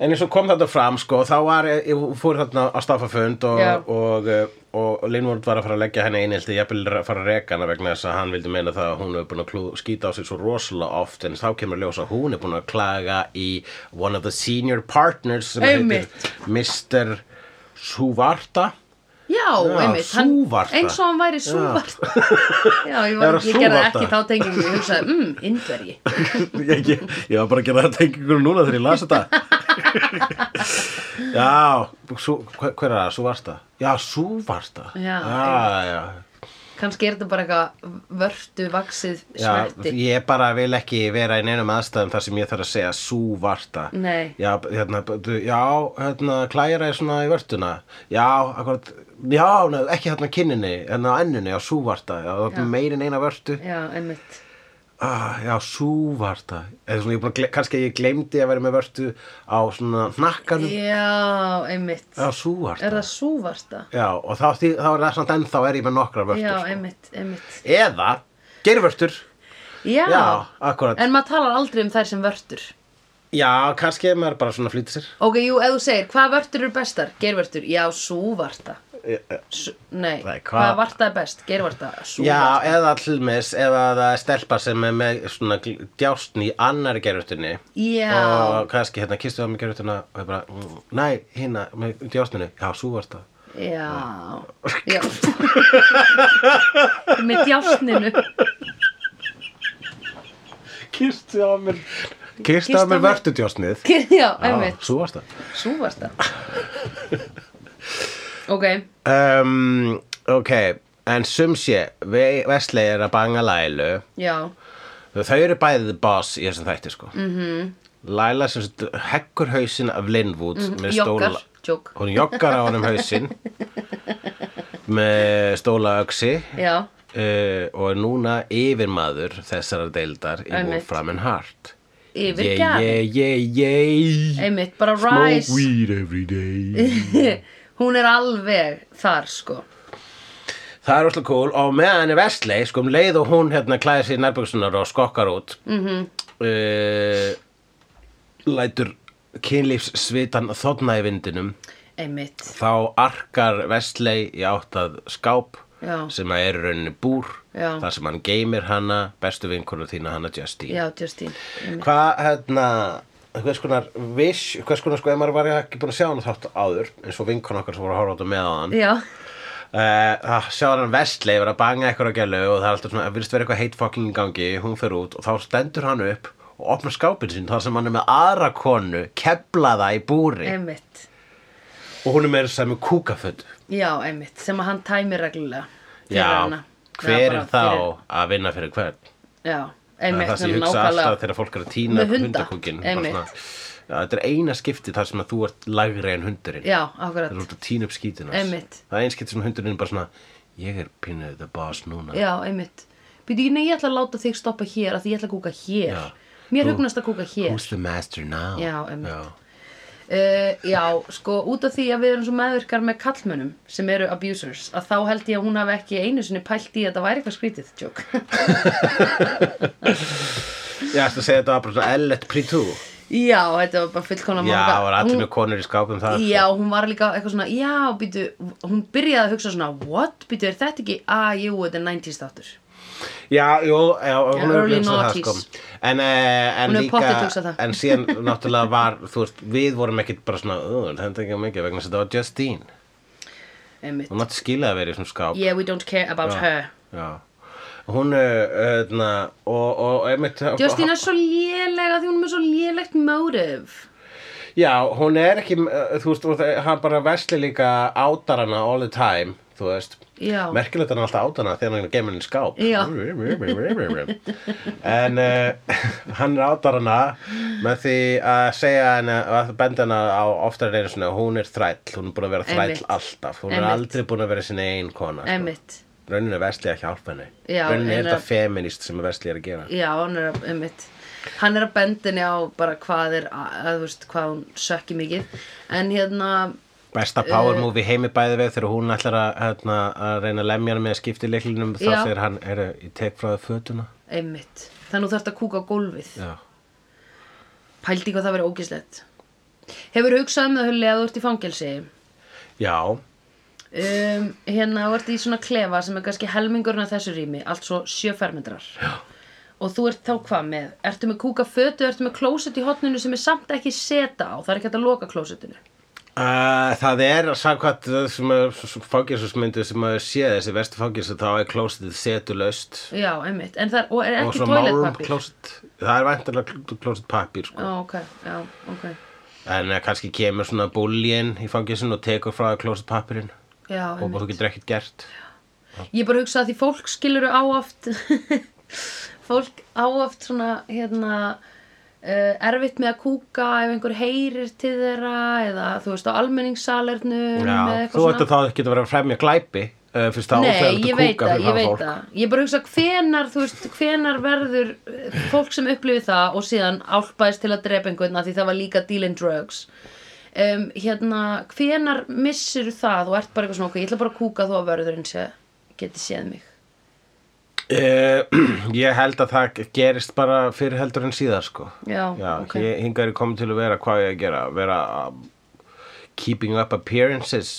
En eins og kom þetta fram, sko, þá var, ég fór þarna á staffafund og, Já. og, eh, og Linwood var að fara að leggja henni einhildi, ég vil fara að reka hana vegna þess að hann vildi meina það að hún er búin að klú, skýta á sig svo rosalega oft, en þá kemur að ljósa að hún er búin að klaga í one of the senior partners sem Einmitt. heitir Mr. Suvarta. Já, einmitt, hann, súvarta. eins og hann væri súvarta Já, ég, var, Já, ég gerði súvarta. ekki þá tengingu, ég hugsaði, mm, indverji ég, ég, ég var bara að gera þetta einhverjum núna þegar ég las þetta Já, sú, hver, hver er það? Suvarta? Já, Suvarta. Já, já, já. Kannski er þetta bara eitthvað vörtu, vaksið, Já, smerti ég bara vil ekki vera í neinum aðstæðum þar sem ég þarf að segja súvarta. Nei. Já, hérna, du- já, hérna, klæra er svona í vörtuna. Já, akkurat, já, nei, ekki hérna á kinninni, hérna á ennunni, já, súvarta. Já, það er meira en eina vörtu. Já, einmitt Ah, já, súvarta. Eða svona, ég er búin að, gle- kannski ég gleymdi að vera með vörtu á svona hnakkanum. Já, einmitt Já, súvarta. Er það súvarta? Já, og þá, því, þá er það samt ennþá er ég með nokkra vörtur. Já, sko. einmitt, einmitt Eða, gervörtur. Já, Já, akkurat. En maður talar aldrei um þær sem vörtur Já, kannski ef maður bara svona flýtir sér. Ok, jú, ef þú segir, hvaða vörtur eru bestar? Gervörtur, já, súvarta Já, S Nei, Nei, hvað- hvaða varta er best? Gervarta, Já, súvarta eða allmis, eða það er stelpa sem er með svona djástn í annari gerutinni Já. og kannski hérna kistu það með gerutina og ég bara, mm, næ, hérna með djástninu, já, svo var það Já, já. Með djásninu Kistu það með Kistu Kysstu á það með mér- vörtu djástnið Já, Já, einmitt svo var það Sú varst það ok, um, ok, en sum sé Ve- Wesley er að banga Lælu já, þau eru bæðið boss í þessum þætti sko mm Mhm. Læla sem sagt heggur hausinn af Linwood Mhm. með stóla jokkar, joke, hún joggar á honum hausinn með stóla öksi já, uh, og er núna yfirmaður þessarar deildar í Einmitt. Wolfram and Heart yfir yeah, yeah, yeah, yeah einmitt, bara smoke rise, weed every day hún er alveg þar sko, Það er óslega cool og meðan er Vestley sko um leið og hún hérna klæðir sér nærbjöksunar og skokkar út mm lætur kynlífssvitan þotna í vindinum einmitt, þá arkar Vestley í áttað skáp Já. sem að er í rauninni búr Já. þar sem hann geymir hana bestu vinkonur þína hana Justine já, Justine, einmitt, Hvað hérna hvers konar viss, hvers konar sko ef maður var ekki búin að sjá hana þátt áður eins og vinkon okkar sem voru að horfa á þetta með á hann já, Eh, Það uh, sjáður hann Vestley vera að banga eitthvað á gælu og það er alltaf svona, það virðist vera eitthvað heit fucking í gangi, hún fer út og þá stendur hann upp og opnar skápinn sín þar sem hann er með aðra konu, keflaða í búri einmitt, og hún er meira sem með kúkaföld. já, einmitt, sem að hann tæmi reglulega fyrir Já, hana. Já, hver bara er þá fyrir- að vinna fyrir hvern? Já, Það einmitt, er það sem ég svona hugsa nákvæmlega. alltaf þegar fólk er að týna Með hunda, hundakúkin. bara einmitt. svona, Já, þetta er eina skipti þar sem að þú ert lagri en hundurinn. Já, Það er akkurat, út að týna upp skítin Einmitt. Það er einskipti sem hundurinn er bara svona, ég er pinuð the boss núna. já, einmitt Býtu ekki, nei, ég ætla að láta þig stoppa hér af því ég ætla að kúka hér Já. Mér Who- hugnast að kúka hér Who's the master now? Já, einmitt. Já. uh, Já, sko, út af því að við erum svo meðvirkar með kallmönnum sem eru abusers að þá held ég að hún hafi ekki einu sinni pælt í að það væri eitthvað skrítið, joke Já, þetta segja þetta var bara svona L1 P2 Já, þetta var bara fullkomna Já, það var allir Hún- með konur í skápum það Já, hún var líka eitthvað svona, já, býtu, hún byrjaði að hugsa svona, what, býtu, er þetta ekki, að, jú, þetta er 90s þáttur. já jú, já, hún er early örugglega hugsað það sko 90s. En, eh, en Hún er pottþétt hugsað líka það. En síðan náttúrulega var Þú veist, við vorum ekkit bara svona "Ú, Það er ekki mikið vegna þess að þetta var Justine Einmitt. Hún átti skilað að vera í þessum skáp Yeah, we don't care about her. Já Hún, öðna, og, og einmitt Justin er svo lélega því hún er með svo lélegt motive. Já, hún er ekki, uh, þú veist, og það- hann bara vesli líka átar hana all the time, þú veist. Já. Merkilegt að hann alltaf átar hana þegar hann er að gefa henni í skáp. Já. en uh, hann átar hana með því að segja henni, að benda hana á oftar einu svona, hún er þræll, hún er búin að vera þræll Einmitt. alltaf. Hún Einmitt. er aldrei búin að vera sinni ein kona. sko. Einmitt. Raunin er vesli að hjálpa henni. Já, Raunin er en þetta að- feminist sem vesli er að gera. Já, hann er að, einmitt. Hann er að bendinni á bara hvað er, að, að, þú veist, hvað hún sökki mikið. En hérna, Besta power movie heimi bæði við þegar hún ætlar að, hérna, að reyna að lemja hann með skiptileiklinum þá Já. segir hann, er ég tek frá það fötuna einmitt. Þannig þú þarft að kúka á gólfið. Já, Pældi hvað það verið ógislegt. Hefur hugsað um það hulli að þú ert í fangelsi? Já. Um, hérna þú ert í svona klefa sem er kannski helmingurinn af þessu rými, allt svo sjö fermetrar. Já. Og þú ert þá hvað með? Ertu með kúka fötu, ertu með klósett í hotninu sem er samt ekki seta á, það er ekki hægt að loka klósettinu. Uh, það er samkvæmt uh, þessum fangilsusmyndu sem maður sé þessi vestu fangilsu þá er klósitið setulaust Já, einmitt, en það er, og er og ekki svo málum toilettpappír. klósit það er væntanlega klósit pappír sko. Já, ok, já, ok. en eh, kannski kemur svona búlín í fangilsun og tekur frá það klósit pappirinn Já, og einmitt. þú getur ekkert gert Ég bara hugsa að því fólk skilur á oft fólk á oft svona hérna uh, erfitt með að kúka ef einhver heyrir til þeirra eða þú veist á almenningssalernum eða Já, eitthvað þú ætti svona þá ekki að vera að fremja glæpi uh, fyrst það Nei, óþægilegt ég að veit kúka það, fyrir ég það veit fólk það Ég bara hugsa hvenar, þú veist, hvenar verður eh, fólk sem upplifir það og síðan álpaðist til að drepa einhvern að því það var líka dealing drugs um, Hérna, hvenar missir það og ert bara eitthvað svona okkur, ég ætla bara að kúka þó að verðurinn sé, geti séð mig Uh, ég held að það gerist bara fyrir heldur en síðar sko Já, Já ok. ég, hingað er ég komið til að vera hvað ég að gera vera um, keeping up appearances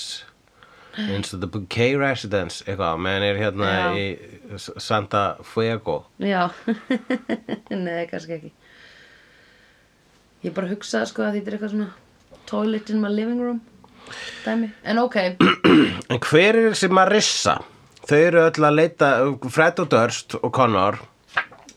eins og the bouquet residence eitthvað, menn er hérna Já. í S- Santa Fuego Já, nei, kannski ekki. Ég bara hugsaði sko að þetta er eitthvað svona toilet in my living room dæmi. En ok, En hver er þessi Marissa? Þau eru öll að leita Fred og Durst og Connor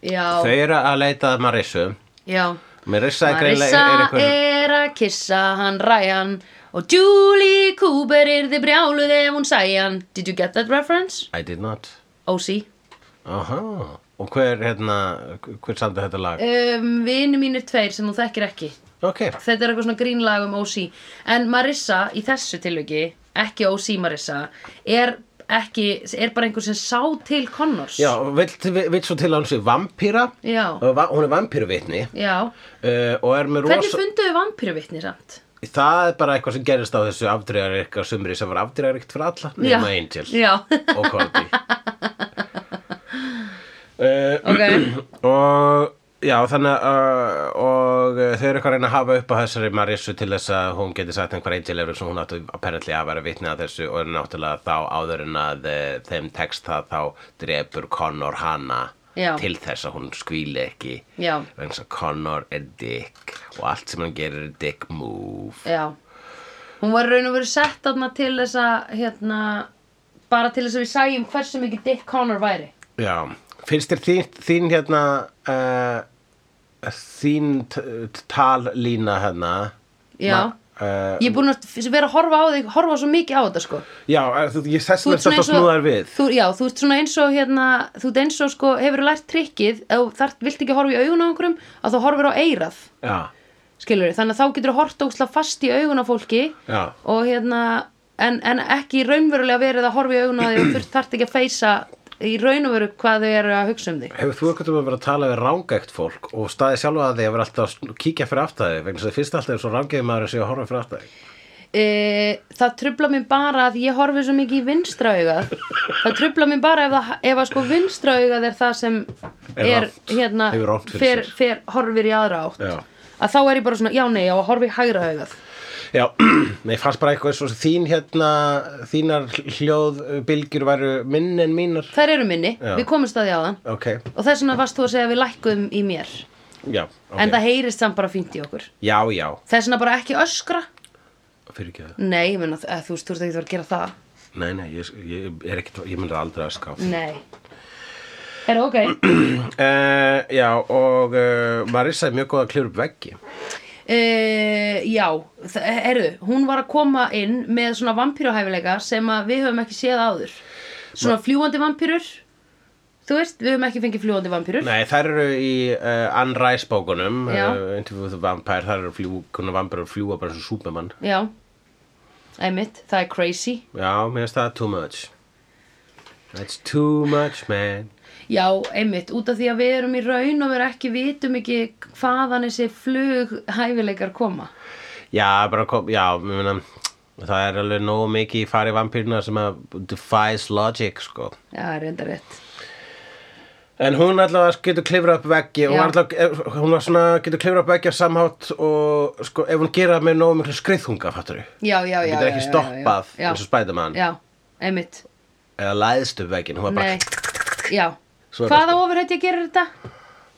já, Þau eru að leita að Marissu já. Marissa, er Marissa greinlega- er, er er að kissa hann Ryan Og Julie Cooper yrði brjáluð ef hún sæi hann. Did you get that reference? I did not OC. Aha Og hver, hérna, hver samdi þetta lag? Um, Vini mínir tveir sem hún þekkir ekki. Ok, Þetta er eitthvað svona grínlag um OC. En Marissa í þessu tilviki, ekki OC Marissa, er ekki, er bara einhver sem sá til Connors. já, vill, vill svo til að hún sé vampíra Já. Og va- Hún er vampíruvitni Já. uh, Og er með Hvernig rosa funduðu vampiruvitni samt? Það er bara eitthvað sem gerist á þessu afdregaríka sumri sem var afdregaríkt fyrir alla nema Angel Já, og Cordy uh, ok. og já þannig uh, og uh, þau eru eitthvað að reyna að hafa upp á þessari Marissu til þess að hún geti sagt einhver Angel eru sem hún átti apparently að vera vitni að þessu og er náttúrulega þá áður en að uh, þeim tekst það þá drepur Connor hana Já. til þess að hún skvíli ekki Já. vegna þess að Connor er dick og allt sem hann gerir er dick move Já. Hún var í raun og verið sett þarna til þess að, hérna, bara til þess að við sæjum hversu mikið Dick Connor væri. Já, finnst þér þín, þín hérna uh, þín t- t- tallína hérna Já. uh, Ég er búin að f- vera að horfa á þig, horfa svo mikið á þetta, sko. Já, eh, þú, ég þess Þú með ert svona þetta eins og- snúðar við Þú, já, þú ert svona eins og, hérna, þú ert eins og, sko, hefur lært trikkið, ef þú þart, vilt ekki horfa í augun á einhverjum, að þú horfir á eirað, Já, skilur við. Þannig að þá getur þú hort ókslega fast í augun á fólki já, og, hérna, en, en ekki raunverulega verið að horfa í augun á því og þú þart ekki að feysa í raunveru hvað þau eru að hugsa um þig. hefur þú einhvern veginn verið að tala við rángægt fólk og staðið sjálfa að því að vera alltaf að sn- kíkja fyrir aftæði vegna þess að fyrst alltaf er svo rángæði maður að sé að horfa fyrir aftæði e, það trubla mér bara að ég horfi svo mikið í vinstra augað það trubla mér bara ef, það, ef að sko vinstra augað er það sem Er er rangt. hérna Hefur rangt fyrir fer, sér. fer horfir í aðra átt Já. að þá er ég bara svona, já nei, já, horfi í hægra augað Já, mér fannst bara eitthvað svo þín hérna, þínar hljóðbylgjur væru minn en mínar þær eru minni, Já. við komumst að því áðan Ok, og þess vegna varst þú að segja að við lækkuðum í mér já, ok en það heyrist samt bara fínt í okkur Já, já, þess vegna bara ekki öskra fyrir ekki það nei, ég meina, eh, þú veist, þú ert ekki að gera það Nei, nei, ég, ég er ekkert, ég myndi aldrei að ská. nei er ok Uh, já, og uh, Marissa er mjög góð að klifra upp veggi. Uh, já, þa- herðu, hún var að koma inn með svona vampíruhæfileika sem að við höfum ekki séð áður. Svona fljúandi vampýrur, þú veist, við höfum ekki fengið fljúandi vampýrur. Nei, þær eru í uh, Anne Rice bókunum, Já. uh, Interview with the Vampire, þær eru fljú, kunna vampire að fljúa bara eins og Superman. Já, einmitt, það er crazy. Já, mér finnst það too much. That's too much, man. Já, einmitt, út af því að við erum í raun og við ekki vitum ekki hvaðan þessi flughæfileikar koma. Já, bara kom, já, mér finna, það er alveg nógu mikið í fari vampirina sem að defies logic, sko. Já, reynda rétt. En hún allavega getur klifra upp veggi og Já. allavega, hún var svona, getur klifra upp veggi á samhátt og sko, ef hún gera með nógu miklu skriðhunga, fattur við. Já, já, Hún já. getur já, ekki já, já, stoppað já, eins og Spiderman Já, einmitt, eða læðst upp veggin, hún var bara, nei, já. Svo er Hvaða ofurhætti að gera þetta?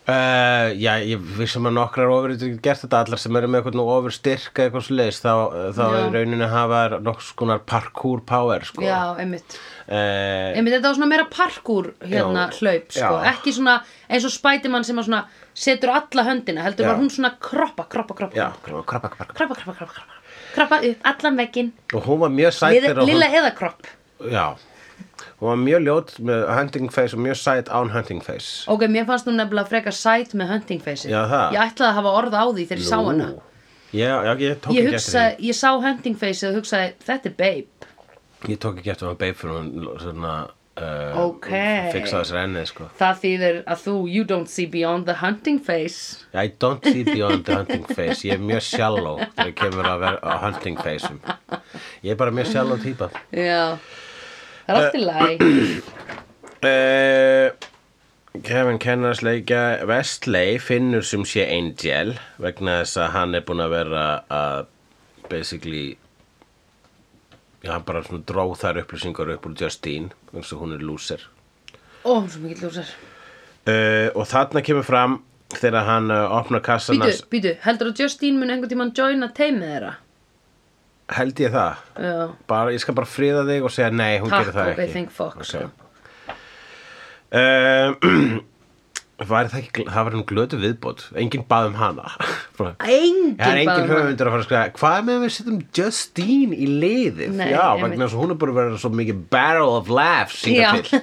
uh, já, ég vissum að nokkrar ofur gert þetta allar sem eru með eitthvað ofur styrk eða eitthvað svo leis, þá, þá Já. í rauninu hafa þær nokkurs konar parkour power, sko. Já, einmitt. Uh, Einmitt, þetta var svona meira parkour hérna Já. hlaup, sko, Já. ekki svona eins og spætimann sem að svona setur alla höndina, heldur Já. var hún svona kroppa, kroppa, kroppa, já, kroppa, krabba, krabba, krabba. kroppa, kroppa, kroppa, kroppa, kroppa upp, allan vegginn, Og hún var mjög sæt lilla, þegar hún- lilla eða kropp. Já, hún var mjög ljót með hunting face og mjög sæt án hunting face. Ok, mér fannst hún nefnilega frekar sæt með hunting face. Já, það. Ég ætlaði að hafa orð á því þegar ég sá hana. Já, já, ég tók Ég ekki eftir hugsaði, ég sá hunting face og hugsaði, þetta er babe. því. Ég tók ekki eftir hún beif fyrir hún svona uh, Ok. fiksaði sér ennið, sko. Það þýðir að þú, you don't see beyond the hunting face. I don't see beyond the hunting face. Ég er mjög shallow þegar ég kemur að vera á hunting faceum. Ég er bara mjög shallow típa. Já, það er allt í lagi. Uh, Kevin Kennars leika Vestley finnur sem sé Angel vegna þess að hann er búinn að vera að basically já, hann bara svona dró þær upplýsingar upp úr Justine eins og hún er loser Ó, svo mikið ljósar. uh, og þarna kemur fram þegar hann uh, opnar kassan Býtu, býtu, heldur að Justine mun einhvern tímann joina teimið þeirra? held ég það Já, bara, ég skal bara friða þig og segja nei, hún Takk, gerir það ok, ekki thank fuck, Ok. Um, Var það, ekki, það var hann glötu viðbót enginn bað um hana Bara- Engin Það er enginn baðum hann. höfundur að fara að skrifa Hvað með að við setjum Justine í liðið? Nei, Já, einmitt. vegna þess að hún er bara að vera svo mikið barrel of laughs Já. síðan til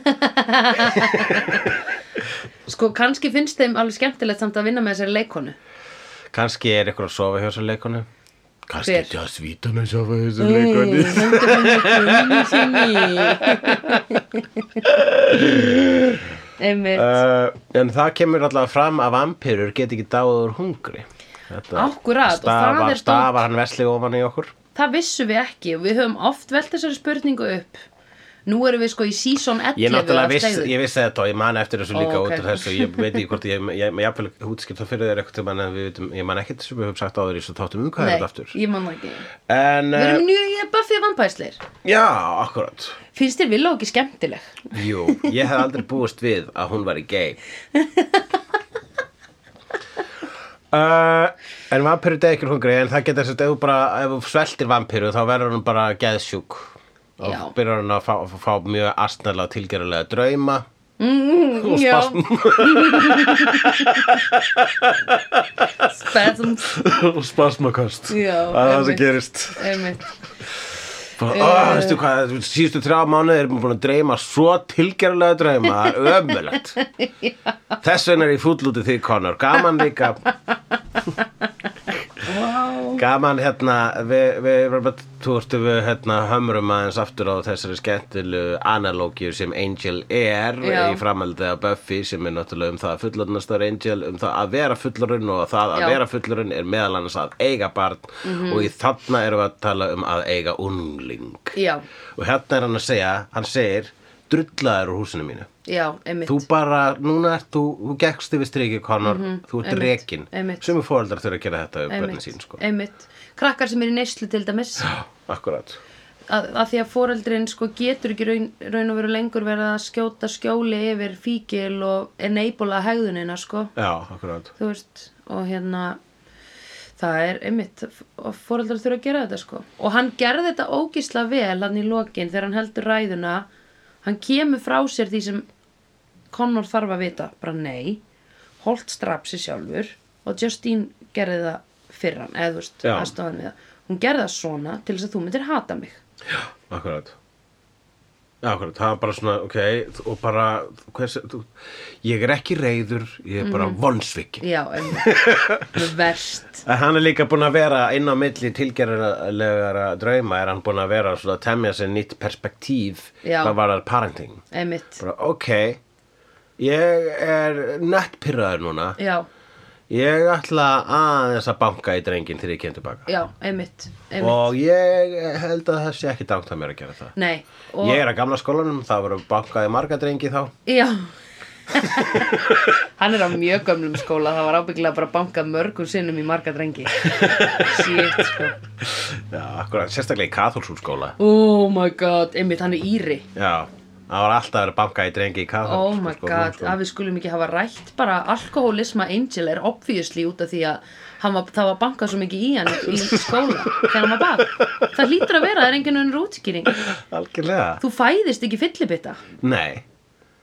Sko, kannski finnst þeim alveg skemmtilegt samt að vinna með þessari leikonu Kanski er ykkur að sofa hjá þessu leikonu Kanski Hver? er Just Vítan að sofa hjá þessu leikonu Einmitt uh, En það kemur alltaf fram að vampirur get ekki dáður hungri Þetta Akkúrat, og það stafar, er dót- stafar hann verslega ofan í okkur Það vissum við ekki og við höfum oft velt þessari spurningu upp Nú erum við sko í season 11 Ég náttúrulega af viss, Slegðu. ég vissi þetta og ég man eftir þessu Ó, líka ok. út af þessu ég veit ekki hvort ég, ég, ég jafnvel útskipt það fyrir þér eitthvað tímann en við vitum, ég man ekkert sem við höfum sagt áður í svo þáttum um hvað er Nei, þetta aftur ég man það ekki En, Við uh, erum nýja í Buffy vampæsleir já, akkurat Finnst þér Villó ekki skemmtileg? Jú, ég hef aldrei búist við að hún væri gay uh, En vampiru degi ekki úr hungri en það getur þess að ef þú bara, ef þú sveltir vampiru þá verður hún bara geðsjúk og Já. byrjar hún að fá, fá, fá mjög astnæðlega tilgerulega drauma Mm, og já, spasm spasms og spasmakast Já, það er það sem einmitt. Eh. gerist Einmitt bara, uh, veistu hvað, síðustu þrjá mánuði erum við búin að dreyma svo tilgerlega dreyma það er ömulegt þess vegna er ég fúll út í því Conor gaman líka wow. gaman hérna við, við erum bara túrstu við hérna hömrum aðeins aftur á þessari skemmtilu analógíu sem Angel er Já. í framhaldið af Buffy sem er náttúrulega um það að fullorðnast er Angel um það að vera fullorinn og það að Já. Mhm. vera fullorinn er meðal annars að eiga barn og í þarna erum við að tala um að eiga ungling Já, og hérna er hann að segja, hann segir drullaður úr húsinu mínu já, einmitt þú bara, núna ert þú, þú gekkst yfir strikið Conor, þú ert Mhm. einmitt, rekin einmitt. sumi fóreldrar þurfa að gera þetta við börnin einmitt, sín sko. einmitt Krakkar sem er í neyslu til dæmis akkurat að, að því að foreldrin sko getur ekki raun, raun og veru lengur verið að skjóta skjóli yfir fíkil og enabla hegðunina sko já, akkurat þú veist og hérna það er einmitt og foreldrar þurfa að gera þetta sko og hann gerði þetta ógisla vel hann í lokin þegar hann heldur ræðuna hann kemur frá sér því sem Connor þarf að vita bara nei, Holt straf sér sjálfur og Justine gerði það fyrir hann, eða þú veist, Já. aðstofan við það hún gerði það svona til þess að þú myndir hata mig akkurat akkurat, það var bara svona, ok og bara, hvers, þú, ég er ekki reyður, ég er bara Mhm. mm. vonsvikin já, einmitt, verst En hann er líka búin að vera inn á milli tilgerðarlegara drauma er hann búin að vera svona að temja sér nýtt perspektíf Já. hvað var það parenting einmitt, bara, ok ég er nettpyrraður núna já, ég ætla aðeins að banka í drengin þegar ég kem tilbaka já, einmitt, einmitt. og ég held að það sé ekki dangt að mér að gera það nei, og ég er að gamla skólanum, það voru bankaði marga drengi þá Já Hann er á mjög gömlum skóla Það var ábyggilega bara bankað mörgum sinnum í marga drengi Shit sko já, akkurat, sérstaklega í katholskum skóla Oh my god, einmitt hann er íri já, það var alltaf að vera bankaði drengi í sko. Oh katholskum my god, að við skulum ekki hafa rætt bara alkohólisma Angel er obviously út af því að hann var, það var bankað svo mikið í hann í skóla þegar hann var bak Það hlýtur að vera, það er enginn unnur útskýring algjörlega Þú fæðist ekki fyllibitta Nei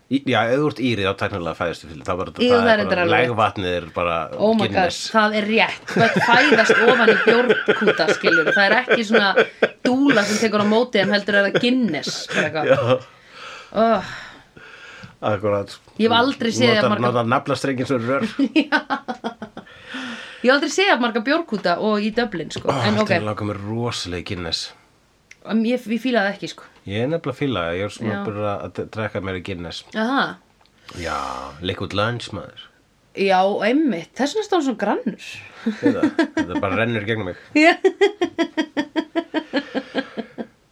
Í- Já, ef þú ert írið á teknilega fæðistu fyrir þá bara, Jú, það er bara reyndar alveg rétt. legvatnið er bara Oh my god, Guinness. það er rétt Börn fæðast ofan í bjórkúta skilur Það er ekki svona dúla sem tekur á móti en heldur er það Guinness bara eitthvað. oh, Akkurat Ég hef aldrei séð að Notar, marga- notar naflastrengin sem rör Ég hef aldrei séð af marga bjórkúta og í Dublin sko. En ok, Það langar mér rosalega Guinness um, ég, ég fílaði ekki sko. Ég er nefnilega fíla, ég er svona Já. bara að drekka mér í Guinness Aha. Já, liquid lunch maður Já, einmitt, þess vegna stóðum svona grannur Þetta þetta bara rennur gegnum mig Já.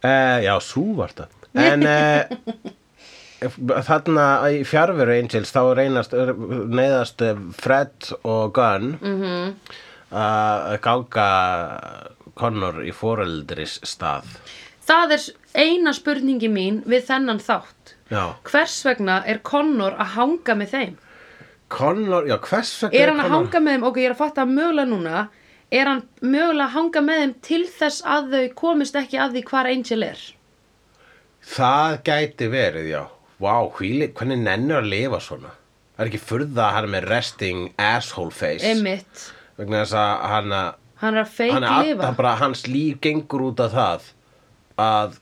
uh, Já, sú var þetta En uh, þarna í fjárveru Angels þá reynast neyðast eh, Fred og Gunn Mhm. að ganga Connor í foreldris stað Það er s- eina spurningi mín við þennan þátt Já, Hvers vegna er Connor að hanga með þeim? Connor, já, hvers vegna er hann að Connor- hanga með þeim, ok, ég er að fatta að mögulega núna er hann mögulega að hanga með þeim til þess að þau komist ekki að því hvar Angel er Það gæti verið, já Vá, hvíli, hvernig nennur að lifa svona Það er ekki furða að hann er með resting asshole face Einmitt. vegna þess að hann að- Hann er að hann, feik að- lifa. hann bara, hans líf gengur út af það að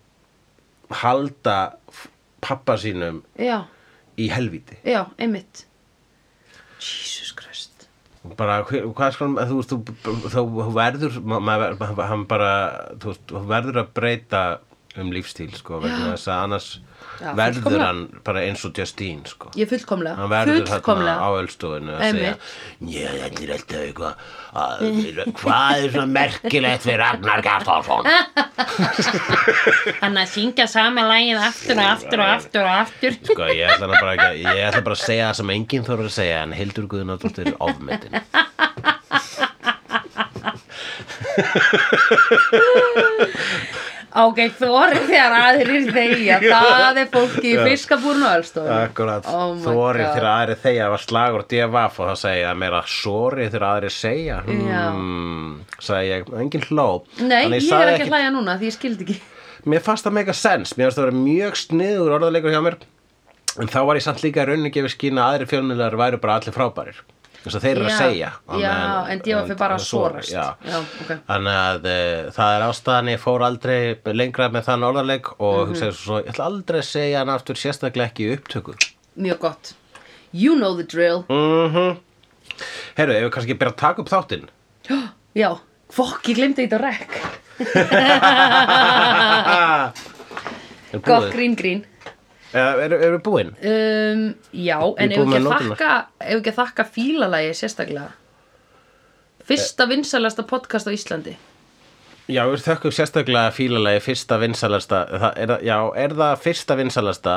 halda f- pappa sínum Já, í helvíti já, einmitt. Jesus Christ. bara, hver- hvað skal en þú veist, þú- þú- þú verður ma- maður- ma- hann bara, þú veist, þú verður að breyta um lífstíl, sko, vegna Já. þess að annars Já, verður fullkomlega. hann bara eins og Justine, sko Ég fullkomlega. hann verður þarna fullkomlega. á öllstofinu að segja Einmitt. ég ætlir alltaf eitthvað að- hvað er svona merkilegt við Ragnar Gjartarsson Hann að syngja sama lagið aftur og aftur og aftur og aftur. sko ég ætla hana bara ekki að- ég ætla bara að segja það sem enginn þarf að segja en Hildur Guðnardóttir er ofmetin Ok, þórið þegar aðrir þegja. Það er fólki í fiskabúrnu alstofu. akkurat Oh my þórið God. þegar aðri þeia var slagur divaf og það segja það meira sorið þegar aðri segja Já. hmm, sagði ég, enginn hló Nei, Þannig ég sagði er ekki að hlæja núna því ég skildi ekki. mér fannst það mega sens mér fannst það að vera mjög sniður orðaleikur hjá mér en þá var ég samt líka í rauninni gefið skín að aðri fjölmiðlar væru bara allir frábærir þess að þeir eru að Já, segja á já, meðan- en divaf er bara að sorast. já. Já, ok. þannig að e, það er ástæðan ég fór aldrei lengra með þann orðaleik og Mhm. hugsaði svo, ég ætla aldrei að segja hann aftur sérstaklega ekki í upptöku Mjög gott. You know the drill. mhm mm Herru, ef við kannski byrja að taka upp þáttinn Já, fokk, ég glemdi þetta á rekk. Er Gott búið? grín grín. Eða, Erum er við búin? Um, já, en ef búin ekki, með að nóturnar. þakka, ef ekki að þakka fílalagi sérstaklega. Eh. Fyrsta vinsalasta podcast á Íslandi. Já, við þökkum sérstaklega fílalagi fyrsta vinsalasta það, er, það- Já, er það fyrsta vinsalasta?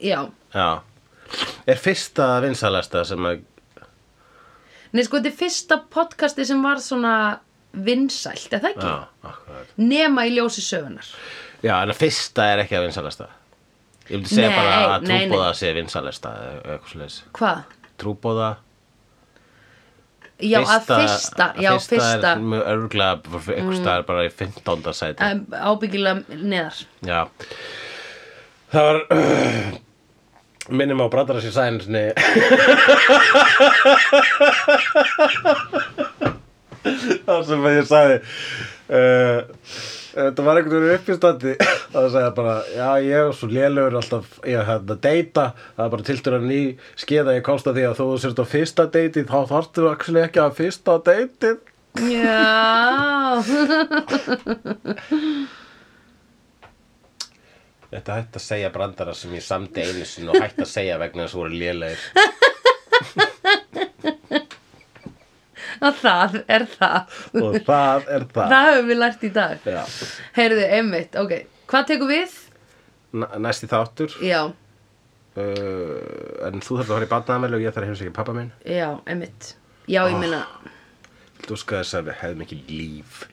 Já. Já Er fyrsta vinsalasta sem að Nei, sko, þetta er fyrsta podcasti sem var svona vinsælt, er það ekki? Já, akkurat Nema í ljósi sögunar. Já, en að fyrsta er ekki að vinsalasta Ég myndi segja Nei, bara að nei, nei. trúbóða sé vinsalasta eða eitthvað svoleiðis Hvað? Trúbóða Já, að fyrsta, já, fyrsta, fyrsta er mjög örgulega einhvers staðar bara í 15. sæti um, ábyggilega neðar. Já Það var minnum á brandara sér sæðin sinni Það sem að ég sagði uh, Þetta var einhvern veginn uppistandi Það sagði ég bara, já ég er svo lélugur alltaf, ég hef að deyta Það er bara tiltur að ný skeiða ég komst að því að þú sérst á fyrsta deyti þá þarftu actually ekki að fyrsta deyti Já. Þetta hætti að segja brandara sem ég samdi einu sinni og hætti að segja vegna þess að voru lélegir Og það er það. og það er það, Það höfum við lært í dag. Já. Heyrðu, einmitt, ok. Hvað tekur við? N- næsti þáttur Já, uh, en þú þarf að fara í barnaðamæli og ég þarf að hefnsa ekki pappa minn já, einmitt. Já, ég meina, þú skal þess að við hefðum ekki líf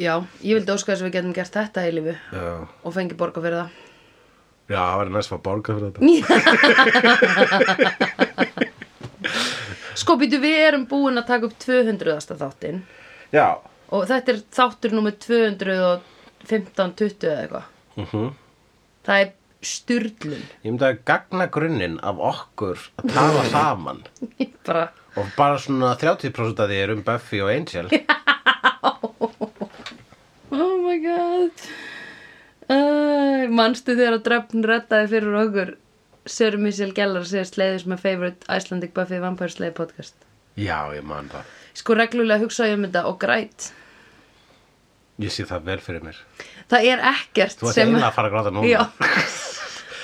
já, ég vildi óska þess að við getum gert þetta í lífu já, og fengi borga fyrir það. já það var næst að fá borga fyrir þetta Sko, býtu, við erum búin að taka upp 200. þáttinn já, og þetta er þáttur nummer 215-20 eða eitthvað. Mhm. Það er styrlun. ég myndi að gagna grunninn af okkur að tala saman Ég bara, og bara svona 30% af því er um Buffy og Angel oh my god. Uh, manstu þegar að dröfn rettaði fyrir okkur Sir Michel Gellar segja sleiðis með favorite Icelandic Buffy Vampire Slay podcast. já, ég man það Sko reglulega hugsa ég um þetta og græt. ég sé það vel fyrir mér Það er ekkert þú ert eiginlega að fara að gráta núna Já. Það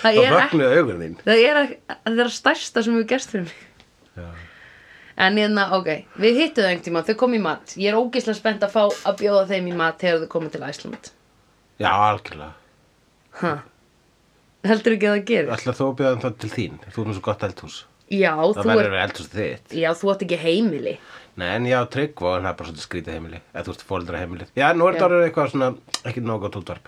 þá er ekkert. vögnuðu augun þín Það er, ek- það er að stærsta sem við gerst fyrir mig. já. En hérna, ok, við hittum þau einhvern tíma, þau kom í mat. Ég er ógeðslega spennt að fá að bjóða þeim í mat þegar þau komið til Æsland. já, algjörlega Ha? Heldur ekki að það gerir? ætla þú að bjóða um það til þín þú erum svo gott eldhús Já, það þú, verður er, eldhús þitt já, þú átt ekki heimili. Nei, en já, Tryggva, en það er bara svolítið skrítið heimili eða þú ert fóreldra heimilið Já, nú er Já. þetta orðið eitthvað svona, ekki nóg gott útvarp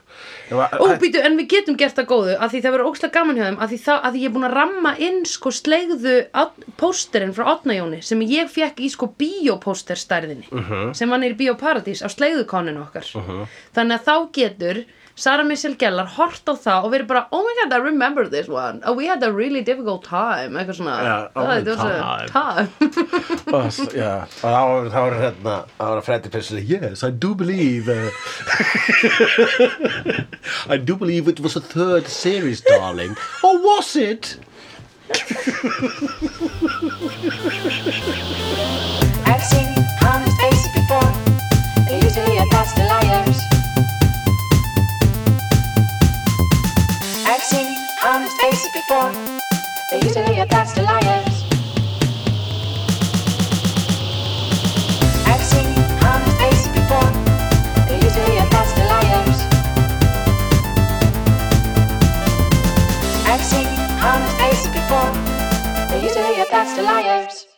Ég var- Ó, býtu, en við getum gert það góðu að því það verður ókslega gaman hjá þeim að því, það, að því ég er búin að ramma inn sko slegðu át- pósterinn frá Otnajóni sem ég fekk í sko bíópóster stærðinni -huh. sem hann er í bíóparadís á slegðukoninu okkar -huh. þannig að þá getur Sara Michelle Gellar hort á það og verið bara oh my god, I remember this one oh, we had a really difficult time eitthvað svona Já, oh, "Oh, it was a time. Og s- Já, og þá var- þá var hérna þá var Freddy Pissli, yes, I do believe uh, I do believe it was a third series, darling Or was it? I've seen honest faces before. They're usually a pass to liars. I've seen honest faces before. They're usually a pass to liars. I've seen honest faces before. They're usually a pass to liars. I've seen honest faces before. They're usually a pass to liars.